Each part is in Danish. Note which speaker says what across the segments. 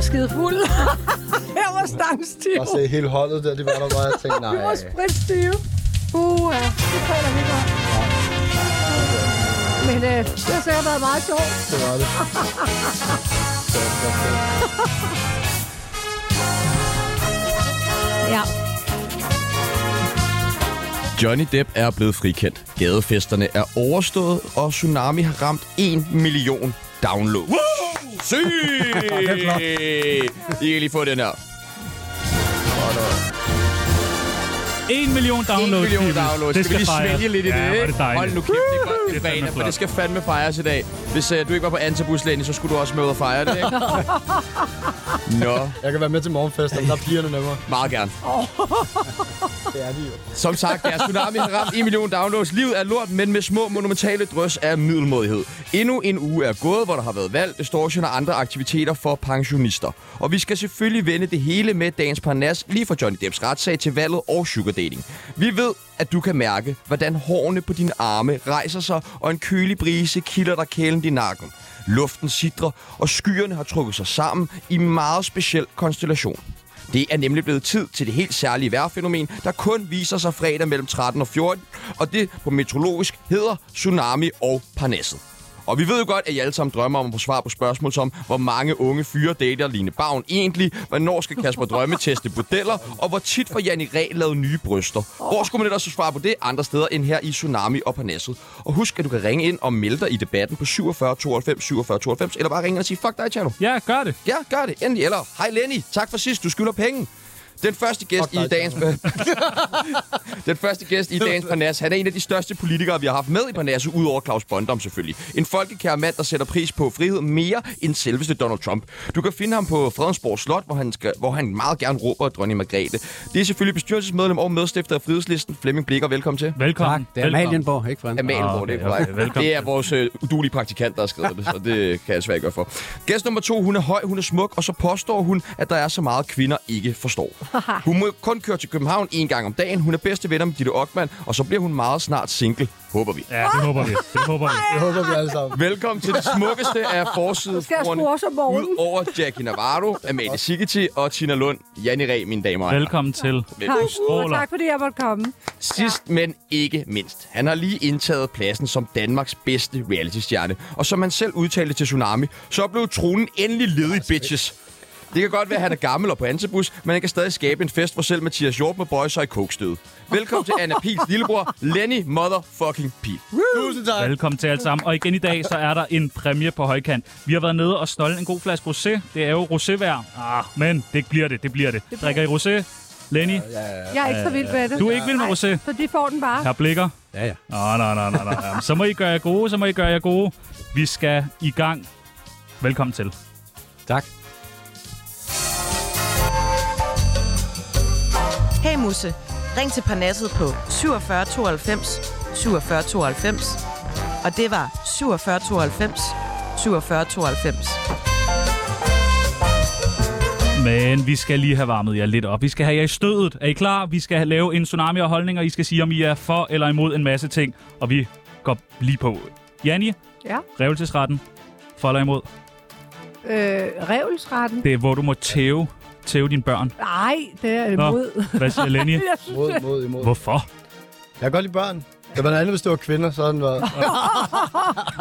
Speaker 1: skide fuld. jeg var stangstiv.
Speaker 2: Og se hele holdet der, det var der bare, jeg tænkte,
Speaker 1: Vi var
Speaker 2: nej.
Speaker 1: spritstive. Uh, ja. det falder vi godt. Men øh, det har sikkert været meget sjovt.
Speaker 2: Det var det. Fedt, fedt, fedt.
Speaker 1: Ja.
Speaker 3: Johnny Depp er blevet frikendt. Gadefesterne er overstået, og Tsunami har ramt 1 million downloads. Woo! Sygt! I kan lige få den her.
Speaker 4: 1 million
Speaker 3: 1
Speaker 4: downloads.
Speaker 3: million
Speaker 4: Pibels.
Speaker 3: downloads. Det skal, vi lige svælge lidt
Speaker 4: ja,
Speaker 3: i det,
Speaker 4: Ja,
Speaker 3: ikke?
Speaker 4: det dejligt.
Speaker 3: Hold nu kæft, det er godt.
Speaker 4: Det
Speaker 3: Det
Speaker 4: er
Speaker 3: er
Speaker 4: fandme
Speaker 3: fredag, for
Speaker 4: flot.
Speaker 3: det skal fandme fejres i dag. Hvis uh, du ikke var på Antabuslægen, så skulle du også med ud og fejre det, ikke? Nå,
Speaker 2: Jeg kan være med til morgenfest, men der er pigerne nemmere.
Speaker 3: meget gerne.
Speaker 2: Det er de jo.
Speaker 3: Som sagt, ja, Tsunami har ramt 1 million downloads. Livet er lort, men med små monumentale drøs af middelmodighed. Endnu en uge er gået, hvor der har været valg, distortion og andre aktiviteter for pensionister. Og vi skal selvfølgelig vende det hele med dagens parnas, lige fra Johnny Depps retssag til valget og sugar dating. Vi ved, at du kan mærke, hvordan hårene på dine arme rejser sig, og en kølig brise kilder dig kælen i nakken. Luften sidrer, og skyerne har trukket sig sammen i en meget speciel konstellation. Det er nemlig blevet tid til det helt særlige vejrfænomen, der kun viser sig fredag mellem 13 og 14, og det på meteorologisk hedder tsunami og parnasset. Og vi ved jo godt, at I alle sammen drømmer om at få svar på spørgsmål som, hvor mange unge fyre dater Line Bavn egentlig, hvornår skal Kasper Drømme teste bordeller, og hvor tit får Janni Ræ lavet nye bryster. Hvor skulle man ellers svare på det andre steder end her i Tsunami og Parnasset? Og husk, at du kan ringe ind og melde dig i debatten på 47 92 47 92, eller bare ringe ind og sige, fuck dig, Tjerno.
Speaker 4: Ja, gør det.
Speaker 3: Ja, gør det. Endelig. Eller, hej Lenny, tak for sidst. Du skylder penge. Den første gæst
Speaker 2: Fuck dig,
Speaker 3: i dagens... Den første gæst i dagens Parnas, han er en af de største politikere, vi har haft med i Parnasse, udover Claus Bondom selvfølgelig. En folkekær mand, der sætter pris på frihed mere end selveste Donald Trump. Du kan finde ham på Fredensborg Slot, hvor han, skal, hvor han meget gerne råber dronning Margrethe. Det er selvfølgelig bestyrelsesmedlem og medstifter af Frihedslisten, Flemming Blikker. Velkommen til.
Speaker 4: Velkommen.
Speaker 5: Tak, det er
Speaker 4: Velkommen.
Speaker 5: Amalienborg, ikke Frederik?
Speaker 3: Amalienborg,
Speaker 4: Ah, okay,
Speaker 3: okay, det er korrekt.
Speaker 4: okay, velkommen.
Speaker 3: det er vores øh, udulige praktikant, der har skrevet det, så det kan jeg svært gøre for. Gæst nummer to, hun er høj, hun er smuk, og så påstår hun, at der er så meget, kvinder ikke forstår. Hun må kun køre til København en gang om dagen, hun er bedste venner med Ditte Ockmann, og så bliver hun meget snart single, håber vi.
Speaker 4: Ja, det håber vi. Det håber vi.
Speaker 2: Det håber vi alle sammen.
Speaker 3: Velkommen til det smukkeste af
Speaker 1: skal jeg skrue også om
Speaker 3: forsidefruerne.
Speaker 1: morgenen.
Speaker 3: Ud over Jackie Navarro, Amalie Sigeti og Tina Lund. Janne Ræ, mine damer og herrer.
Speaker 4: Velkommen til.
Speaker 1: Tak,
Speaker 4: stråler.
Speaker 1: og tak fordi jeg måtte komme.
Speaker 3: Sidst, ja. men ikke mindst. Han har lige indtaget pladsen som Danmarks bedste reality-stjerne. Og som han selv udtalte til Tsunami, så blev tronen endelig ledig, bitches. Det kan godt være, at han er gammel og på antibus, men han kan stadig skabe en fest, hvor selv Mathias Hjort med boys er i kokstød. Velkommen til Anna Pils lillebror, Lenny motherfucking Pil.
Speaker 2: Tusind tak.
Speaker 4: Velkommen til alle sammen. Og igen i dag, så er der en præmie på højkant. Vi har været nede og stolde en god flaske rosé. Det er jo rosévejr. Ah, men det bliver det, det bliver det. Drikker I rosé? Lenny,
Speaker 1: Jeg er ikke så vild med det.
Speaker 4: du er ikke vild med
Speaker 1: Nej,
Speaker 4: rosé?
Speaker 1: Så de får den bare.
Speaker 4: Her blikker.
Speaker 5: Ja, ja.
Speaker 4: Nå, nå, nå, nå, nå. Jamen, Så må I gøre jer gode, så må I gøre jer gode. Vi skal i gang. Velkommen til.
Speaker 5: Tak.
Speaker 6: Hey Musse, ring til Parnasset på 47 92 47 92. Og det var 47 92 47 92.
Speaker 4: Men vi skal lige have varmet jer lidt op. Vi skal have jer i stødet. Er I klar? Vi skal lave en tsunami af holdninger. I skal sige, om I er for eller imod en masse ting. Og vi går lige på. Janni,
Speaker 1: Ja.
Speaker 4: revelsesretten. For eller imod?
Speaker 1: Øh, revelsretten.
Speaker 4: Det er, hvor du må tæve, tæve dine børn.
Speaker 1: Nej, det er
Speaker 4: Nå.
Speaker 1: imod.
Speaker 4: Hvad siger Lenny?
Speaker 1: Jeg synes,
Speaker 2: Mod, mod, imod.
Speaker 4: Hvorfor?
Speaker 2: Jeg kan godt lide børn. Det var noget andet, hvis det var kvinder, så havde den været...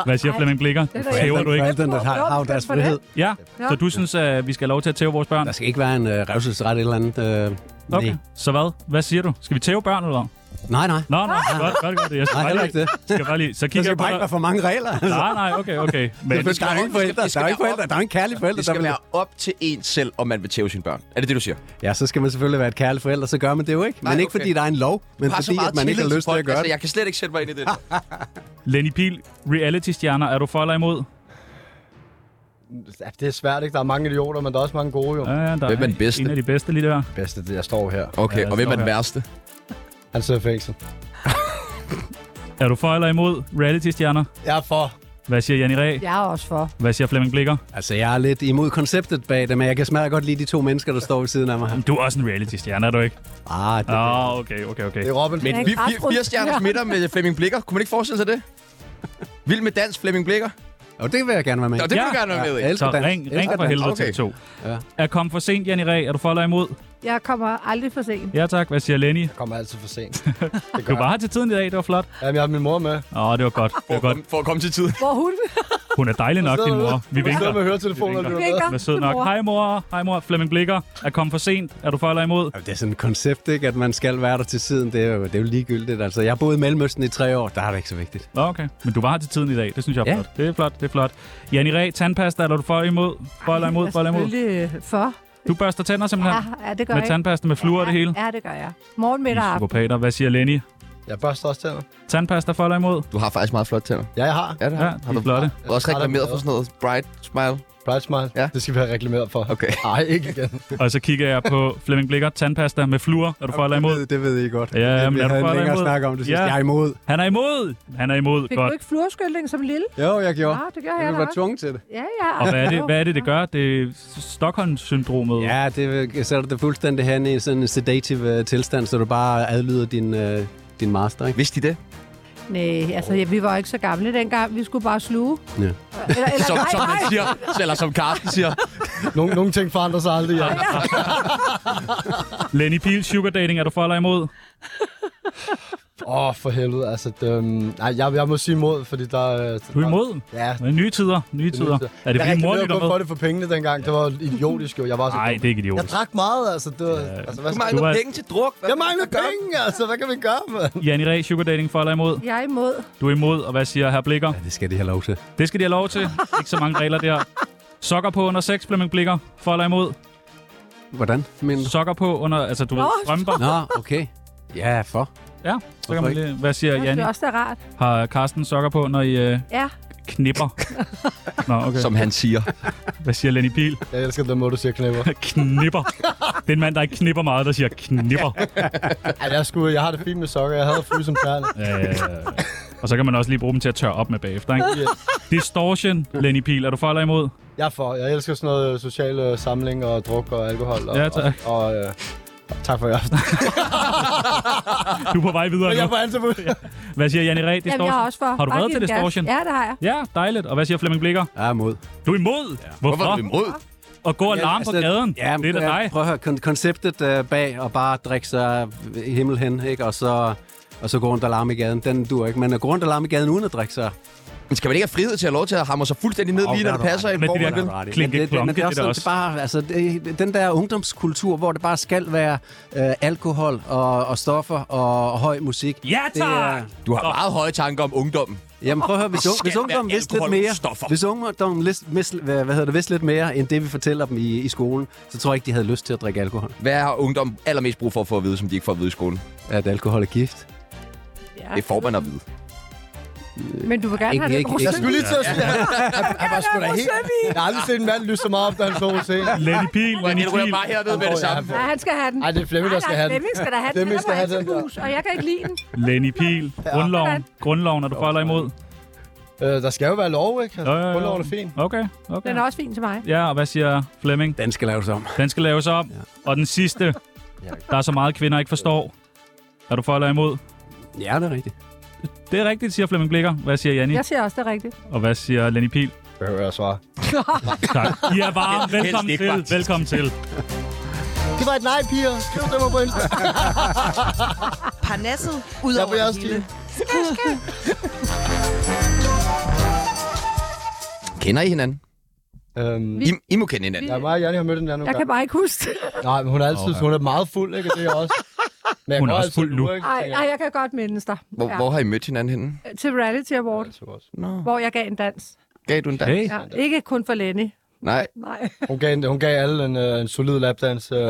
Speaker 4: Hvad siger Flemming Blikker?
Speaker 1: er da
Speaker 4: Tæver
Speaker 1: ikke-
Speaker 4: du ikke?
Speaker 5: Forældrene, der har, har jo deres frihed.
Speaker 4: Ja,
Speaker 1: Ja.
Speaker 4: så du synes, at vi skal have lov til at tæve vores børn?
Speaker 5: Der skal ikke være en øh, revselsret eller andet. Øh,
Speaker 4: Okay,
Speaker 5: nej.
Speaker 4: så hvad? Hvad siger du? Skal vi tæve børn eller hvad?
Speaker 5: Nej, nej.
Speaker 4: Nå, nej,
Speaker 1: Ah.
Speaker 4: godt, godt, godt. Jeg skal
Speaker 5: Nej,
Speaker 4: bare
Speaker 5: heller
Speaker 4: lige,
Speaker 5: ikke det.
Speaker 4: Skal bare lige, så
Speaker 5: Der
Speaker 4: kigger
Speaker 5: skal
Speaker 4: jeg på
Speaker 5: bare ikke
Speaker 4: dig.
Speaker 5: være for mange regler. Altså.
Speaker 4: Nej, nej, okay, okay. Men
Speaker 5: Der er jo ikke forældre.
Speaker 3: det
Speaker 5: Der
Speaker 3: skal
Speaker 5: er jo ikke
Speaker 3: være
Speaker 5: forældre. Der er jo en kærlig forælder,
Speaker 3: Det
Speaker 5: der
Speaker 3: skal
Speaker 5: vil
Speaker 3: være op til en selv, om man vil tæve sine børn. Er det det, du siger?
Speaker 5: Ja, så skal man selvfølgelig være et kærligt forælder, så gør man det jo ikke. Men
Speaker 3: Nej,
Speaker 5: ikke
Speaker 3: okay.
Speaker 5: fordi der er en lov, men
Speaker 3: Har så
Speaker 5: fordi
Speaker 3: meget
Speaker 5: at man ikke
Speaker 3: tillid
Speaker 5: har lyst til
Speaker 3: folk.
Speaker 5: at gøre
Speaker 3: altså,
Speaker 5: det.
Speaker 3: jeg kan slet ikke sætte mig ind i det.
Speaker 4: Lenny Pil, reality-stjerner, er du for eller imod?
Speaker 2: Ja, det er svært, ikke? Der er mange idioter, men der er også mange gode, jo.
Speaker 4: Ja, ja,
Speaker 3: Hvem
Speaker 4: der
Speaker 3: er
Speaker 4: en-
Speaker 3: den bedste?
Speaker 4: En af de bedste lige der.
Speaker 2: Bedste, det jeg står her.
Speaker 3: Okay, og hvem er den værste?
Speaker 2: Han sidder i fængsel.
Speaker 4: Er du for eller imod reality-stjerner?
Speaker 2: Jeg er for.
Speaker 4: Hvad siger Janni Ræ?
Speaker 1: Jeg er også for.
Speaker 4: Hvad siger Flemming Blikker?
Speaker 5: Altså, jeg er lidt imod konceptet bag det, men jeg kan smadre godt lide de to mennesker, der står ved siden af mig her.
Speaker 4: Du er også en reality-stjerne, er du ikke?
Speaker 5: Ah,
Speaker 4: Åh,
Speaker 5: det,
Speaker 4: oh, okay, okay, okay.
Speaker 2: Det er Robin.
Speaker 3: Men
Speaker 1: Ja,
Speaker 3: vi, vi,
Speaker 1: græsrod.
Speaker 3: fire stjerners middag med Flemming Blikker. Kunne man ikke forestille sig det? Vild med dans, Flemming Blikker.
Speaker 5: Og det vil jeg gerne være med i.
Speaker 3: Nå, det vil
Speaker 4: Ja.
Speaker 3: du gerne være med i.
Speaker 5: Jeg
Speaker 4: Så
Speaker 5: elsker dans.
Speaker 4: ring,
Speaker 5: Jeg
Speaker 4: ring
Speaker 5: elsker
Speaker 4: for
Speaker 5: dans.
Speaker 4: helvede
Speaker 3: Okay.
Speaker 4: okay. til
Speaker 5: Ja.
Speaker 4: to. Er kom for sent, Janni Ræ? Er du for eller imod?
Speaker 1: Jeg kommer aldrig for sent.
Speaker 4: Ja tak. Hvad siger Lenny?
Speaker 2: Jeg kommer altid for sent. Det
Speaker 4: Du
Speaker 2: gør
Speaker 4: var
Speaker 2: jeg.
Speaker 4: her til tiden i dag. Det var flot.
Speaker 2: Jamen, jeg har min mor med.
Speaker 4: Åh, det var godt. Det
Speaker 3: For,
Speaker 4: var
Speaker 3: at
Speaker 4: godt.
Speaker 3: komme- for at komme til tiden.
Speaker 1: Hvor hun
Speaker 4: Hun er dejlig nok, din mor. Vi
Speaker 2: Jeg sidder
Speaker 4: vinker.
Speaker 2: med høretelefonerne.
Speaker 4: Vi
Speaker 2: Vi
Speaker 1: vinker.
Speaker 4: Hun er sød nok. Hej mor. Hej mor. Flemming Blikker. Er kom for sent? Er du for eller imod?
Speaker 5: Jamen, Det er sådan et koncept, ikke? at man skal være der til siden. Det er jo, det er jo ligegyldigt. Altså, jeg har boet i Mellemøsten i tre år. Der er det ikke så vigtigt.
Speaker 4: Nå, okay. Men du var her til tiden i dag. Det synes jeg er
Speaker 5: Ja.
Speaker 4: flot. Det er flot. Det er flot. Janni Ræ, tandpasta. Er du for eller imod? For eller imod? For eller imod?
Speaker 1: selvfølgelig øh, for.
Speaker 4: Du børster tænder simpelthen.
Speaker 1: Ja, ja, det gør
Speaker 4: Med
Speaker 1: jeg.
Speaker 4: tandpasta, med fluer og det hele.
Speaker 1: Ja, ja, det gør jeg. Morgen,
Speaker 4: I
Speaker 1: middag, aften.
Speaker 4: Psykopater. Hvad siger Lenny?
Speaker 2: Jeg børster også tænder.
Speaker 4: Tandpasta for eller imod?
Speaker 3: Du har faktisk meget flot tænder.
Speaker 2: Ja, jeg har.
Speaker 3: Ja, det
Speaker 4: Ja,
Speaker 3: har,
Speaker 4: de er flotte.
Speaker 3: Du har også reklameret for sådan noget bright smile.
Speaker 2: Bright Smile.
Speaker 3: Ja.
Speaker 2: Ja. Det skal vi have reklameret for.
Speaker 3: Okay.
Speaker 2: Nej, ikke igen.
Speaker 4: Og så kigger jeg på Flemming Blikker, tandpasta med fluer. Er du for eller
Speaker 5: Det
Speaker 4: imod?
Speaker 5: ved, det ved I godt.
Speaker 4: Ja,
Speaker 5: det,
Speaker 4: men
Speaker 5: vi
Speaker 4: er du
Speaker 5: havde
Speaker 4: for
Speaker 5: en
Speaker 4: eller
Speaker 5: længere
Speaker 4: imod?
Speaker 5: snak om det sidste.
Speaker 4: Ja.
Speaker 5: Jeg er imod.
Speaker 4: Han er imod! Han er imod.
Speaker 1: Fik
Speaker 4: Godt.
Speaker 1: du ikke fluorskyldning som lille?
Speaker 5: Jo, jeg gjorde.
Speaker 1: Ja, det gør jeg
Speaker 5: Jeg
Speaker 1: da
Speaker 5: var
Speaker 1: også.
Speaker 5: tvunget til det.
Speaker 1: Ja, ja.
Speaker 4: Og hvad er det,
Speaker 1: Jo.
Speaker 4: hvad er det, det gør? Det er Stockholm-syndromet.
Speaker 5: Ja, det sætter det fuldstændig hen i sådan en sedative øh, tilstand, så du bare adlyder din, øh, din master, ikke?
Speaker 3: Vidste de det?
Speaker 1: Nej, altså ja, vi var ikke så gamle dengang. Vi skulle bare sluge.
Speaker 5: Ja.
Speaker 1: Eller, eller
Speaker 3: Som,
Speaker 1: nej,
Speaker 3: som han
Speaker 1: nej.
Speaker 3: siger, eller som Carsten siger.
Speaker 2: Nogle, nogle ting forandrer sig aldrig, ja.
Speaker 4: Lenny Pihl, sugar dating, er du for eller imod?
Speaker 2: Åh, oh, for helvede. Altså, det, øhm, nej, jeg, jeg må sige imod, fordi der... øh,
Speaker 4: Du er imod.
Speaker 2: Ja.
Speaker 4: Men nye tider, nye tider. Er det
Speaker 2: jeg
Speaker 4: fordi mor
Speaker 2: reklamerede
Speaker 4: lytter
Speaker 2: kun for
Speaker 4: med?
Speaker 2: det for pengene dengang. Det var idiotisk jo. Jeg var så
Speaker 4: Nej, det er ikke
Speaker 2: Jeg
Speaker 4: idiotisk.
Speaker 2: drak meget, altså. Det var, altså hvad skal...
Speaker 3: Du
Speaker 4: Du
Speaker 3: mangler
Speaker 4: er-
Speaker 3: penge til druk. Hvad
Speaker 2: Jeg mangler penge, altså. Hvad kan vi gøre, mand?
Speaker 4: Janni Ræ, sugar dating, for eller imod?
Speaker 1: Jeg er imod.
Speaker 4: Du er imod, og hvad siger herr Blikker?
Speaker 5: Det skal de have lov til.
Speaker 4: Det skal de have lov til. Ikke så mange regler der. Sokker på under sex, Flemming Blikker, for eller imod?
Speaker 5: Hvordan? Men...
Speaker 4: Sokker på under, altså du ved,
Speaker 1: Nå,
Speaker 4: strømper.
Speaker 5: Nå, okay. Ja, for.
Speaker 4: Ja, så kan
Speaker 5: Hvorfor
Speaker 4: man lige... Hvad siger
Speaker 1: Jeg synes
Speaker 4: Janni?
Speaker 1: Altså, det også, det er rart.
Speaker 4: Har Carsten sokker på, når I øh,
Speaker 1: Ja,
Speaker 4: knipper? Nå, okay.
Speaker 3: Som han siger.
Speaker 4: Hvad siger Lenny Pihl?
Speaker 2: Jeg elsker den måde, du siger knæpper.
Speaker 4: knipper. Det er en mand, der ikke knipper meget, der siger knipper.
Speaker 2: Ej, jeg, skulle, jeg har det fint med sokker. Jeg havde fly som perle.
Speaker 4: Øh, og så kan man også lige bruge dem til at tørre op med bagefter, ikke?
Speaker 2: Yes.
Speaker 4: Distortion, Lenny Pihl. Er du for eller imod?
Speaker 2: Jeg er for. Jeg elsker sådan noget sociale samling og druk og alkohol. Og,
Speaker 4: Ja, tak.
Speaker 2: Og, og øh, tak for i aften.
Speaker 4: Du er på vej videre
Speaker 2: Jeg
Speaker 4: nu.
Speaker 2: får altid på
Speaker 4: Hvad siger Janne Ræ?
Speaker 1: Jamen, jeg er
Speaker 4: Distortion?
Speaker 1: også for.
Speaker 4: Har du
Speaker 1: Bare
Speaker 4: været
Speaker 1: giv
Speaker 4: til
Speaker 1: den gas.
Speaker 4: Distortion?
Speaker 1: Ja, det har jeg.
Speaker 4: Ja, dejligt. Og hvad siger Flemming Blikker?
Speaker 5: Jeg er imod.
Speaker 4: Du er imod.
Speaker 3: Hvorfor er du
Speaker 4: Hvorfor?
Speaker 3: imod?
Speaker 4: Og gå og larme på gaden.
Speaker 5: Ja, men
Speaker 4: Det er da
Speaker 5: prøv-
Speaker 4: dig.
Speaker 5: Prøv at høre, kon- konceptet øh, bag og bare drikke sig i himmel hen, ikke? Og så, og så gå rundt og larme i gaden. Den dur ikke. Men at gå rundt og larme i gaden uden at drikke sig...
Speaker 3: Men skal man ikke have frihed til at have lov til at hamre sig fuldstændig ned
Speaker 5: Åh,
Speaker 3: lige,
Speaker 5: der
Speaker 3: når det
Speaker 5: er du
Speaker 3: passer
Speaker 5: ret.
Speaker 3: ind?
Speaker 4: Men det
Speaker 3: Hvor man
Speaker 4: virker
Speaker 3: er-
Speaker 5: Ret i.
Speaker 4: Klinke
Speaker 5: Men det,
Speaker 4: klonke,
Speaker 5: men det er
Speaker 4: det
Speaker 5: også
Speaker 4: er
Speaker 5: sådan,
Speaker 4: det
Speaker 5: det bare, altså, det, den der ungdomskultur, hvor det bare skal være øh, alkohol og, og stoffer og, og høj musik.
Speaker 4: Ja,
Speaker 5: Det
Speaker 4: tak!
Speaker 5: er-
Speaker 3: Du har meget høje tanker om ungdommen.
Speaker 5: Jamen prøv at høre, hvis,
Speaker 3: Der
Speaker 5: un- hvis
Speaker 3: skal
Speaker 5: ungdommen
Speaker 3: være
Speaker 5: vidste lidt
Speaker 3: alkohol og
Speaker 5: mere,
Speaker 3: stoffer.
Speaker 5: hvis ungdommen vidste, vidste, hvad, hvad hedder det, vidste lidt mere, end det vi fortæller dem i, i skolen, så tror jeg ikke, de havde lyst til at drikke alkohol.
Speaker 3: Hvad har ungdom allermest brug for at få at vide, som de ikke får at vide i skolen?
Speaker 5: At alkohol er gift.
Speaker 1: Ja.
Speaker 3: Det får man at vide.
Speaker 1: Men du vil gerne
Speaker 5: Ikke-
Speaker 1: have
Speaker 5: ikke-
Speaker 1: det.
Speaker 2: Jeg
Speaker 5: ikke-
Speaker 2: skulle lige til at sige, han, han, han var sgu da helt... Jeg har aldrig set en mand lyse så meget op, da han så på scenen.
Speaker 4: Lenny Pihl, Lenny
Speaker 3: Jeg ryger
Speaker 4: Pihl.
Speaker 3: bare hernede med det samme.
Speaker 1: Nej, han skal have den.
Speaker 2: Ej, det er Flemming, der skal have den.
Speaker 1: Flemming skal da have den.
Speaker 2: Flemming
Speaker 1: Han
Speaker 2: skal
Speaker 1: er
Speaker 2: have den
Speaker 1: altid
Speaker 2: der.
Speaker 1: hus, og jeg kan ikke lide den.
Speaker 4: Lenny Pihl. Grundloven. Grundloven, er du for eller imod?
Speaker 2: Øh, der skal jo være lov, ikke?
Speaker 4: Jo, jo, jo.
Speaker 2: Grundloven er fin.
Speaker 4: Okay,
Speaker 1: Den
Speaker 4: okay.
Speaker 1: er også fin til mig.
Speaker 4: Ja, og hvad siger Flemming?
Speaker 5: Den skal laves om.
Speaker 4: Den skal laves om. Ja. Og den sidste, der er så meget kvinder ikke forstår. Er du for eller imod?
Speaker 5: Ja, det er rigtigt.
Speaker 4: Det er rigtigt, siger Flemming Blikker. Hvad siger Janni?
Speaker 1: Jeg siger også det er rigtigt.
Speaker 4: Og hvad siger Lenny Pihl?
Speaker 2: Behøver jeg svare.
Speaker 4: Tak. I er varme. Velkommen
Speaker 3: ikke,
Speaker 4: til.
Speaker 3: faktisk.
Speaker 4: Velkommen til.
Speaker 2: Det var et nej, piger. Skriv det mig på Insta.
Speaker 6: Parnasset ud
Speaker 2: Der
Speaker 6: over
Speaker 2: vil jeg
Speaker 6: det
Speaker 2: også
Speaker 6: hele.
Speaker 2: sige.
Speaker 3: Kender I hinanden?
Speaker 2: Øhm,
Speaker 3: I, I må kende hinanden.
Speaker 2: jeg er meget gerne, jeg har mødt den der nogle
Speaker 1: Jeg kan
Speaker 2: gange.
Speaker 1: bare ikke huske det.
Speaker 2: Nej, men hun er altid... Hun er meget fuld, ikke? Og Det er jeg også. Men jeg
Speaker 4: Hun er
Speaker 2: går
Speaker 4: også
Speaker 2: altid
Speaker 4: fuld nu.
Speaker 2: lure, ikke?
Speaker 1: Ej,
Speaker 2: Tænker
Speaker 1: ej,
Speaker 2: jeg.
Speaker 1: jeg kan godt mindes dig.
Speaker 3: Hvor, hvor har I mødt hinanden henne?
Speaker 1: Til Reality Award,
Speaker 2: Altså også.
Speaker 3: Nå.
Speaker 1: hvor jeg gav en dans.
Speaker 3: Gav du en dag?
Speaker 4: Hey.
Speaker 1: Ja, ikke kun for Lenny.
Speaker 3: Nej.
Speaker 1: Nej.
Speaker 2: Hun gav, en- hun gav alle en, øh, en solid lapdans. Øh, og,
Speaker 4: Ja,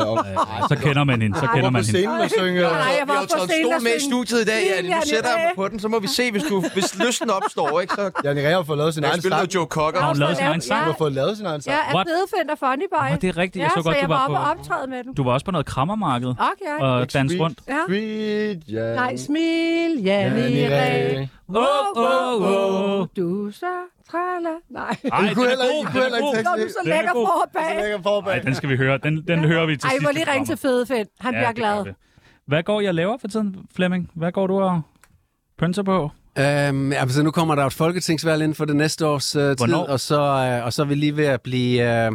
Speaker 4: så kender man hende. Så
Speaker 2: Hun
Speaker 4: kender
Speaker 2: var på
Speaker 4: man hende.
Speaker 2: scenen og synge. øh,
Speaker 1: Nej, jeg
Speaker 3: Vi
Speaker 1: var
Speaker 3: har jo
Speaker 1: på
Speaker 3: taget en
Speaker 1: scenen
Speaker 3: stol
Speaker 1: og
Speaker 3: med i
Speaker 1: synge.
Speaker 3: studiet i dag,
Speaker 1: Lige
Speaker 3: Janne. Nu
Speaker 1: Janni
Speaker 3: sætter jeg
Speaker 1: Ræ.
Speaker 3: mig på den, så må vi se, hvis, du, hvis lysten opstår, ikke? Så
Speaker 2: Janne Rea har fået lavet sin
Speaker 3: jeg
Speaker 2: egen
Speaker 3: spiller
Speaker 2: sang.
Speaker 3: noget Joe Cocker.
Speaker 4: Har hun lavet sin
Speaker 1: Ja.
Speaker 4: egen sang?
Speaker 2: Hun har fået lavet sin egen sang.
Speaker 1: Jeg er
Speaker 4: What?
Speaker 1: bedefind og funny boy.
Speaker 4: Åh, det er rigtigt. Jeg
Speaker 1: ja,
Speaker 4: så godt,
Speaker 1: jeg
Speaker 4: du var
Speaker 1: oppe
Speaker 4: på...
Speaker 1: og optræde med den.
Speaker 4: Du var også på noget krammermarked
Speaker 1: Og jeg.
Speaker 4: og
Speaker 2: Ikke
Speaker 4: danse
Speaker 2: sweet,
Speaker 4: rundt.
Speaker 1: Ja.
Speaker 2: Sweet, yeah.
Speaker 1: Nej, smil, Janni
Speaker 2: Janne
Speaker 1: Ræ.
Speaker 2: Rea.
Speaker 4: Åh, åh, åh.
Speaker 1: Du så træller. Nej.
Speaker 4: Ej,
Speaker 2: Du
Speaker 4: den
Speaker 2: kunne
Speaker 4: er
Speaker 2: heller
Speaker 4: god.
Speaker 2: ikke- du kunne
Speaker 4: Den er
Speaker 2: heller ikke
Speaker 4: god.
Speaker 1: Nå, du så
Speaker 4: Den er
Speaker 1: lækker
Speaker 4: god.
Speaker 1: for
Speaker 2: Så
Speaker 1: bag.
Speaker 2: lægger jeg forbag.
Speaker 4: Ej, den skal vi høre. Den, den hører vi til
Speaker 1: Ej,
Speaker 4: sidst.
Speaker 1: må lige ringe til Fede Fed. Han
Speaker 4: Ja,
Speaker 1: bliver
Speaker 4: det gør
Speaker 1: glad.
Speaker 4: vi. Hvad går jeg laver for tiden, Flemming? Hvad går du og pønser på?
Speaker 5: Øhm, ja, så nu kommer der et folketingsvalg inden for det næste års øh, tid,
Speaker 4: Hvornår?
Speaker 5: og så, øh, og så er vi lige ved at blive øh,